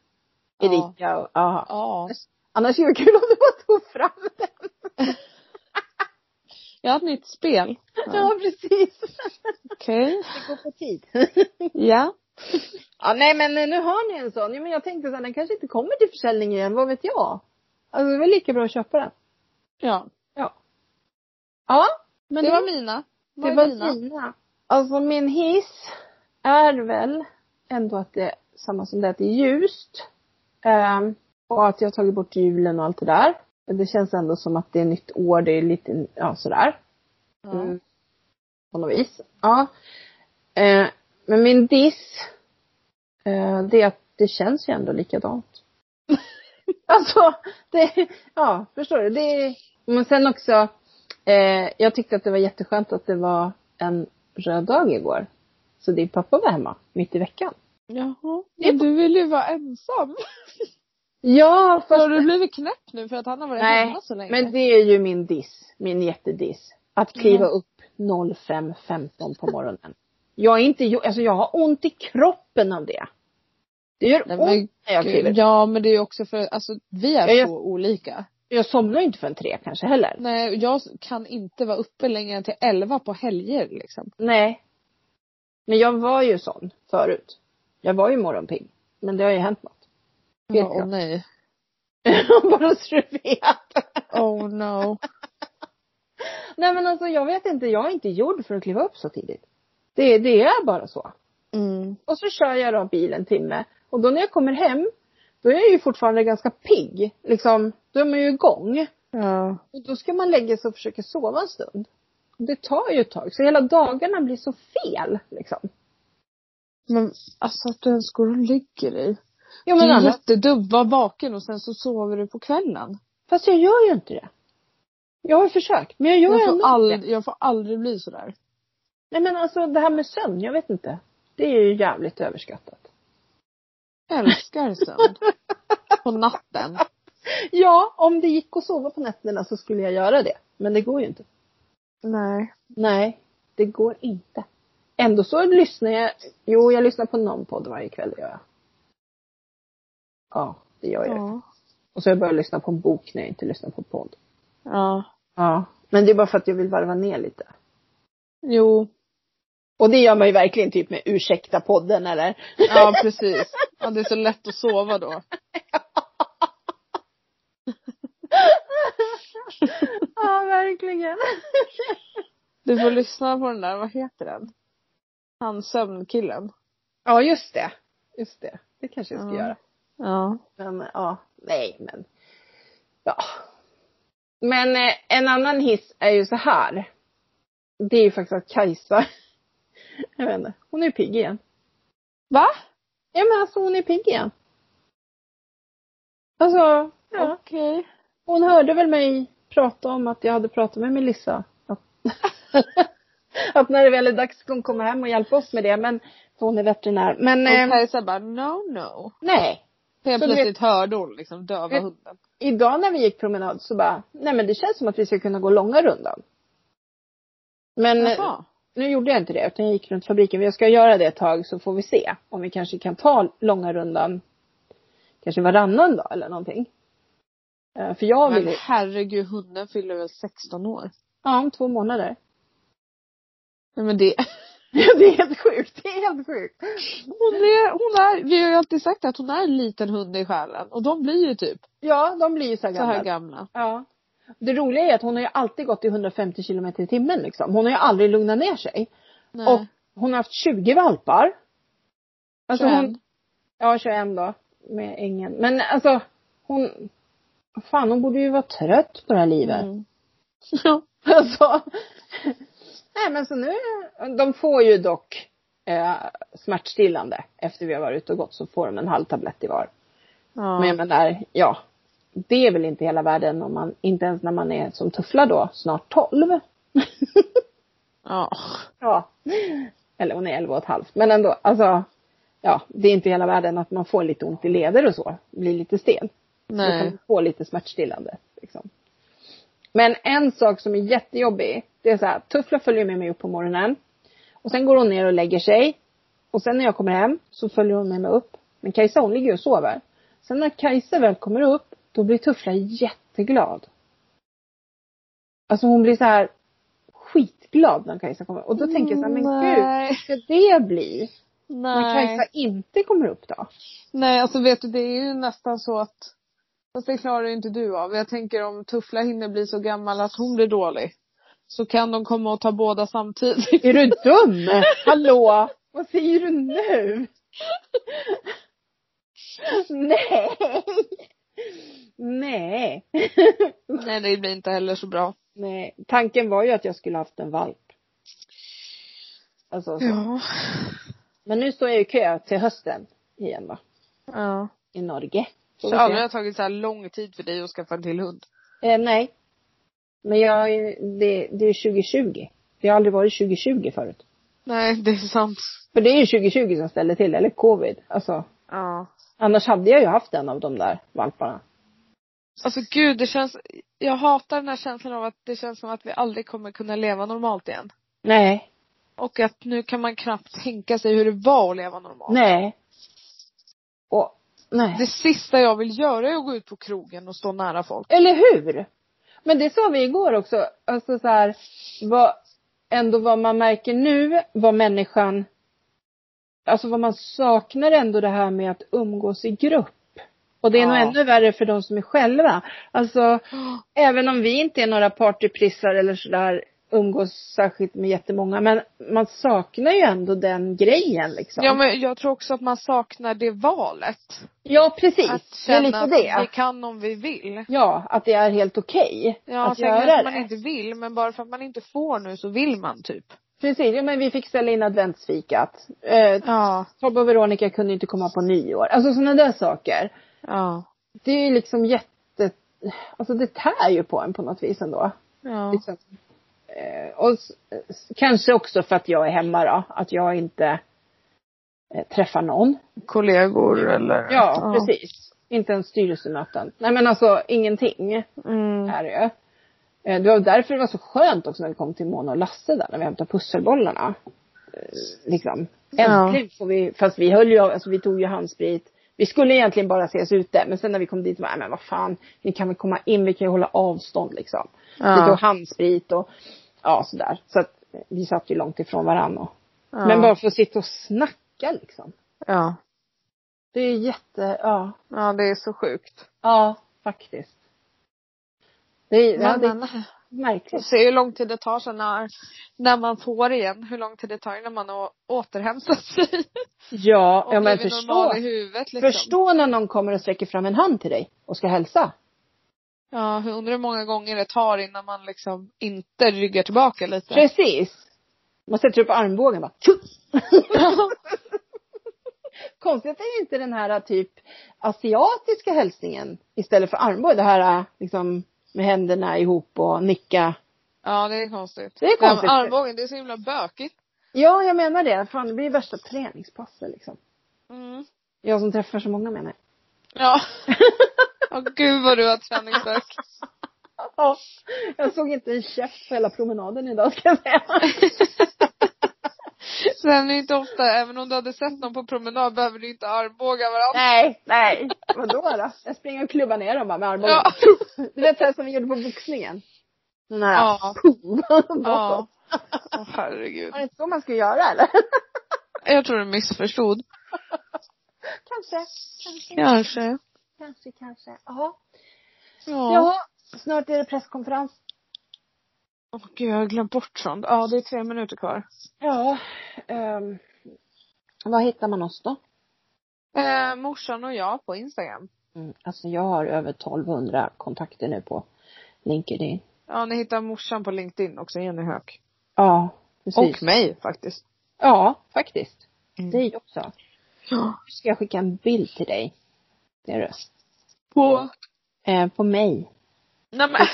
A: Ja.
B: Erika och, ja.
A: Ja.
B: Annars är det kul om du bara tog fram den.
A: Jag har ett nytt spel.
B: Ja, precis.
A: Okej.
B: Det går på tid.
A: Ja.
B: ja, nej men nu har ni en sån. Jo men jag tänkte så här, den kanske inte kommer till försäljning igen, vad vet jag? Alltså det var lika bra att köpa den.
A: Ja.
B: Ja, men
A: Det var mina. Vad
B: Det
A: är
B: var
A: dina?
B: dina. Alltså min hiss är väl ändå att det är samma som det, att det är ljust. Ehm, och att jag har tagit bort julen och allt det där. Men Det känns ändå som att det är nytt år, det är lite, ja sådär. Mm. På något vis. Ja. Eh, men min diss, eh, det är att det känns ju ändå likadant. alltså, det, ja, förstår du? Det, men sen också, eh, jag tyckte att det var jätteskönt att det var en röd dag igår. Så din pappa var hemma, mitt i veckan.
A: Jaha. Men du vill ju vara ensam.
B: Ja,
A: Har du blivit knäpp nu för att han har varit
B: Nej,
A: hemma så länge?
B: men det är ju min diss, min jättediss. Att kliva
A: Mm.
B: upp 05.15 på morgonen. Jag är inte, alltså jag har ont i kroppen av det. Det gör
A: Nej, men
B: ont när jag kliver upp.
A: Ja men det är ju också för, alltså vi är
B: Ja, jag-
A: så olika.
B: Jag somnar ju inte förrän tre kanske heller.
A: Nej jag kan inte vara uppe längre än till elva på helger liksom.
B: Nej. Men jag var ju sån förut. Jag var ju morgonpigg. Men det har ju hänt något. Vet
A: Ja, åh
B: jag.
A: nej.
B: Bara så du vet.
A: Oh no.
B: Nej men alltså jag vet inte, jag är inte gjord för att kliva upp så tidigt. Det, det är bara så.
A: Mm.
B: Och så kör jag då bil en timme. Och då när jag kommer hem, då är jag ju fortfarande ganska pigg. Liksom, då är man ju igång.
A: Ja.
B: Och då ska man lägga sig och försöka sova en stund. Och det tar ju ett tag, så hela dagarna blir så fel. Liksom.
A: Men alltså att du ens går och lägger dig.
B: Jo,
A: Det
B: men
A: är
B: annars,
A: jättedumt. Var vaken och sen så sover du på kvällen.
B: fast jag gör ju inte det. Jag har försökt, men jag gör
A: Jag
B: ändå
A: får,
B: inte
A: aldrig,
B: det.
A: jag får aldrig bli sådär.
B: Nej men alltså det här med sömn, jag vet inte. Det är ju jävligt överskattat.
A: Älskar sömn. På natten.
B: Ja, om det gick att sova på nätterna så skulle jag göra det. Men det går ju inte.
A: Nej.
B: Nej, det går inte. Ändå så lyssnar jag. Jo, jag lyssnar på någon podd varje kväll, det gör jag. Ja, det gör jag.
A: Ja.
B: Och så har jag börjat lyssna på en bok när jag inte lyssnar på podd.
A: ja.
B: Ja. Men det är bara för att jag vill varva ner lite.
A: Jo.
B: Och det gör man ju verkligen typ med ursäkta podden eller?
A: Ja precis. Ja, det är så lätt att sova då.
B: ja, verkligen.
A: Du får lyssna på den där, vad heter den? Han sömnkillen.
B: Ja, just det. Just det. Det kanske jag ska
A: Ja.
B: göra.
A: Ja.
B: Men ja, nej men. Ja. Men eh, en annan hiss är ju så här. Det är ju faktiskt att Kajsa, jag vet inte, hon är ju pigg igen.
A: Va?
B: Ja men alltså hon är pigg igen. Alltså, ja.
A: Okej.
B: Hon hörde väl mig prata om att jag hade pratat med Melissa. Att, att när det väl är dags ska hon komma hem och hjälpa oss med det. Men, för hon är veterinär. Men
A: Och
B: eh,
A: Kajsa bara no no.
B: nej.
A: Helt
B: Så du vet-
A: plötsligt hörde hon liksom döva
B: Vet-
A: hunden.
B: idag när vi gick promenad så bara, nej men det känns som att vi ska kunna gå långa rundan. Men eh,
A: Jaha.
B: nu gjorde jag inte det utan jag gick runt fabriken. Men jag ska göra det ett tag så får vi se om vi kanske kan ta långa rundan kanske varannan dag eller någonting. Eh, För jag vill
A: Men
B: ju,
A: herregud hunden fyller väl 16 år.
B: ja om två månader.
A: Nej men det,
B: Ja, det är helt sjukt. Det är helt sjukt.
A: Hon är, hon är, vi har ju alltid sagt att hon är en liten hund i själen och de blir ju typ
B: Ja, de blir ju så här
A: så
B: gamla.
A: här gamla.
B: Ja. Det roliga är att hon har ju alltid gått i 150 kilometer i timmen liksom. Hon har ju aldrig lugnat ner sig.
A: Nej.
B: Och hon har haft 20 valpar. Alltså hon,
A: 21.
B: ja 21 då. Med ängen. Men alltså hon, fan hon borde ju vara trött på det här livet.
A: Mm. Ja.
B: Alltså. Nej men så nu, de får ju dock eh, smärtstillande efter vi har varit ute och gått så får de en halv tablett i var.
A: Ja.
B: Men jag menar, ja. Det är väl inte hela världen om man, inte ens när man är som tuffla då, snart 12.
A: ja.
B: Ja. Eller hon är 11 och ett halvt. Men ändå, alltså. Ja, det är inte hela världen att man får lite ont i leder och så. Blir lite stel. Då kan
A: Nej.
B: man få lite smärtstillande. Liksom. Men en sak som är jättejobbig, det är så här, Tuffla följer med mig upp på morgonen. Och sen går hon ner och lägger sig. Och sen när jag kommer hem så följer hon med mig upp. Men Kajsa hon ligger ju och sover. Sen när Kajsa väl kommer upp, då blir Tuffla jätteglad. Alltså hon blir så här skitglad när Kajsa kommer. Och då tänker jag så här, men gud,
A: Nej.
B: hur ska det bli? När
A: Nej.
B: Kajsa inte kommer upp då?
A: Nej, alltså vet du, det är ju nästan så att Fast det klarar ju inte du av. Jag tänker om Tuffla hinner bli så gammal att hon blir dålig. Så kan de komma och ta båda samtidigt.
B: Är du dum? Hallå? Vad säger du nu? Nej. Nej.
A: Nej, det blir inte heller så bra.
B: Nej. Tanken var ju att jag skulle haft en valp. Alltså, så.
A: Ja.
B: Men nu står jag i kö till hösten igen va?
A: Ja.
B: I Norge. Får
A: Så
B: vi se.
A: aldrig har tagit så här lång tid för dig att skaffa en till hund.
B: Eh, nej. Men jag, är- det, det är 2020. Jag har aldrig varit 2020 förut.
A: Nej, det är sant.
B: För det är ju 2020 som ställer till, eller covid. Alltså,
A: Ja.
B: annars hade jag ju haft en av de där valparna.
A: Alltså gud, det känns, jag hatar den här känslan av att det känns som att vi aldrig kommer kunna leva normalt igen.
B: Nej,
A: Och att nu kan man knappt tänka sig hur det var att leva normalt.
B: nej. Och, nej.
A: Det sista jag vill göra är att gå ut på krogen och stå nära folk.
B: Eller hur? Men det sa vi igår också, alltså så här, vad, ändå vad man märker nu, vad människan, alltså vad man saknar ändå det här med att umgås i grupp. Och det är nog
A: Ja.
B: ännu värre för de som är själva. Alltså, även om vi inte är några partyprissar eller sådär, umgås särskilt med jättemånga, men man saknar ju ändå den grejen liksom.
A: Ja men jag tror också att man saknar det valet.
B: ja precis.
A: Att
B: det är
A: känna
B: lite
A: att
B: det.
A: vi kan om vi vill.
B: Ja, att det är helt okej
A: Ja,
B: att
A: att tänk
B: göra
A: att man
B: det.
A: inte vill men bara för att man inte får nu så vill man typ.
B: Precis, ja, men vi fick ställa in adventsfikat. Eh,
A: Ja.
B: Tobbe och Veronica kunde inte komma på nyår. Alltså sådana där saker.
A: Ja.
B: Det är ju liksom jätte, alltså det tär ju på en på något vis ändå.
A: Ja.
B: Liksom. Eh, och s- s- kanske också för att jag är hemma då, att jag inte eh, träffar någon.
A: Kollegor eller?
B: Ja, precis. Inte ens styrelsemöten. Nej men alltså ingenting.
A: Mm.
B: är det ju. Eh, Det var därför det var så skönt också när vi kom till Mona och Lasse där, när vi hämtade pusselbollarna. Eh, Liksom.
A: Ja.
B: Äntligen får vi, fast vi höll ju, av- alltså vi tog ju handsprit. Vi skulle egentligen bara ses ute, men sen när vi kom dit var jag, men vad fan, ni kan väl komma in, vi kan ju hålla avstånd liksom. Vi
A: Ja.
B: tog handsprit och, ja sådär. Så att eh, vi satt ju långt ifrån varandra.
A: Ja.
B: Men bara för att sitta och snacka liksom.
A: Ja.
B: Det är ju jätte, ja.
A: Ja, det är så sjukt.
B: Ja, faktiskt. Det är, ja,
A: Men,
B: det är
A: men
B: märkligt.
A: se hur lång tid det tar sen när, när man får igen. Hur lång tid det tar innan man har återhämtat sig.
B: Ja,
A: Och
B: ja men
A: blivit normal
B: förstå.
A: i huvudet liksom.
B: Förstå när någon kommer och sträcker fram en hand till dig och ska hälsa.
A: Ja, hur- undrar hur många gånger det tar innan man liksom inte ryggar tillbaka lite.
B: Precis. Man sätter upp armbågen bara. tju! Konstigt är ju inte den här typ asiatiska hälsningen istället för armbåge. Det här liksom med händerna ihop och nicka.
A: Ja, det är konstigt.
B: Det är
A: Men
B: konstigt.
A: Armbågen, det är så himla bökigt.
B: Ja, jag menar det. Fan, det blir värsta träningspasset liksom.
A: Mm.
B: Jag som träffar så många menar jag.
A: Ja. Åh gud vad du har träningsvärk.
B: Ja, jag såg inte en käft på hela promenaden idag ska jag säga.
A: Sen är det inte ofta, även om du hade sett någon på promenad behöver du inte armbåga varandra.
B: Nej, nej. Vadå då? Jag springer och klubbar ner dem bara med armbågen.
A: Ja.
B: Du vet så här som vi gjorde på boxningen. Den här.
A: Ja.
B: Boom.
A: ja.
B: Bakåt.
A: Åh herregud.
B: Var det inte så man skulle göra eller?
A: Jag tror du missförstod.
B: Kanske. Kanske.
A: Kanske.
B: Kanske, kanske. Jaha.
A: Ja.
B: Jaha. Snart är det presskonferens.
A: Åh gud, jag har glömt bort sånt. Ja, det är tre minuter kvar.
B: Ja. Um, vad hittar man oss då?
A: Eh, morsan och jag på Instagram.
B: Mm, alltså jag har över 1200 kontakter nu på LinkedIn.
A: Ja, ni hittar morsan på LinkedIn också, Jenny Höök.
B: Ja, precis.
A: Och mig faktiskt.
B: Ja, faktiskt.
A: Mm.
B: Dig också.
A: Ja.
B: Ska jag skicka en bild till dig? Det är du.
A: På?
B: Eh, på mig.
A: Nej men.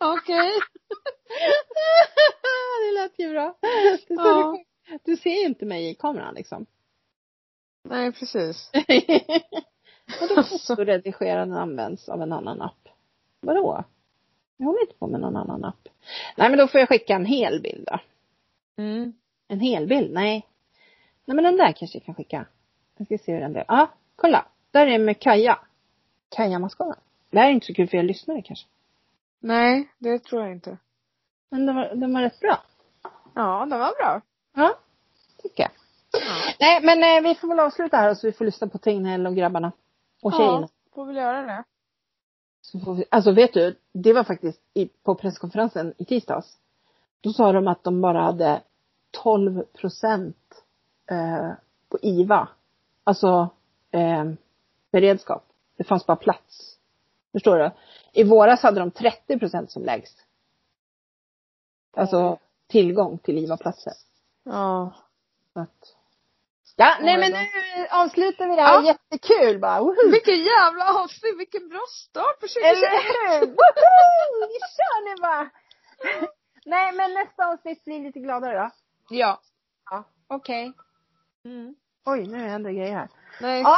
A: Okej.
B: det lät ju bra. Du, ser-
A: Ja.
B: du ser ju inte mig i kameran liksom.
A: Nej, precis. Alltså.
B: Så redigeraren används av en annan app. Vadå? Jag håller inte på med någon annan app. Nej men då får jag skicka en hel bild då.
A: Mm.
B: En hel bild? Nej. Nej men den där kanske jag kan skicka. Jag ska se hur den blev. Ja, kolla. Där är med Kaja. Kaja Mascara. Det här är inte så kul för er lyssnare kanske.
A: Nej, det tror jag inte.
B: Men den var, den var rätt bra.
A: Ja, det var bra.
B: Ja, tycker jag. Nej men eh, vi får väl avsluta här och så vi får lyssna på Tegnell och grabbarna. Och tjejerna.
A: Ja, får väl göra det.
B: Så får vi, alltså vet du, det var faktiskt i, på presskonferensen i tisdags. Då sa de att de bara hade 12 procent eh, på IVA. Alltså eh, beredskap. Det fanns bara plats. Förstår du? I våras hade de 30 procent som lägst. Alltså tillgång till IVA-platser.
A: Ja.
B: Så att... Ja,
A: Oh
B: nej
A: my
B: men
A: God.
B: nu avslutar vi det här.
A: Ja.
B: Jättekul bara. Woho!
A: Vilken jävla avsnitt, vilken bra start på 2021!
B: Eller hur? Woho! Vi kör nu bara! Nej, men nästa avsnitt blir lite gladare då.
A: Ja.
B: Ja. Okej.
A: Mm.
B: Oj, nu händer grejer här.
A: Nej.
B: Ja.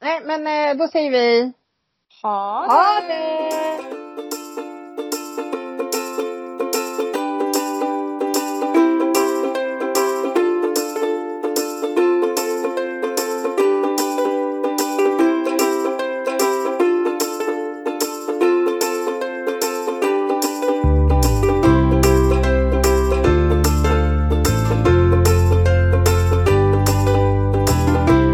B: Nej, men eh, då säger vi
A: Ha
B: ha det!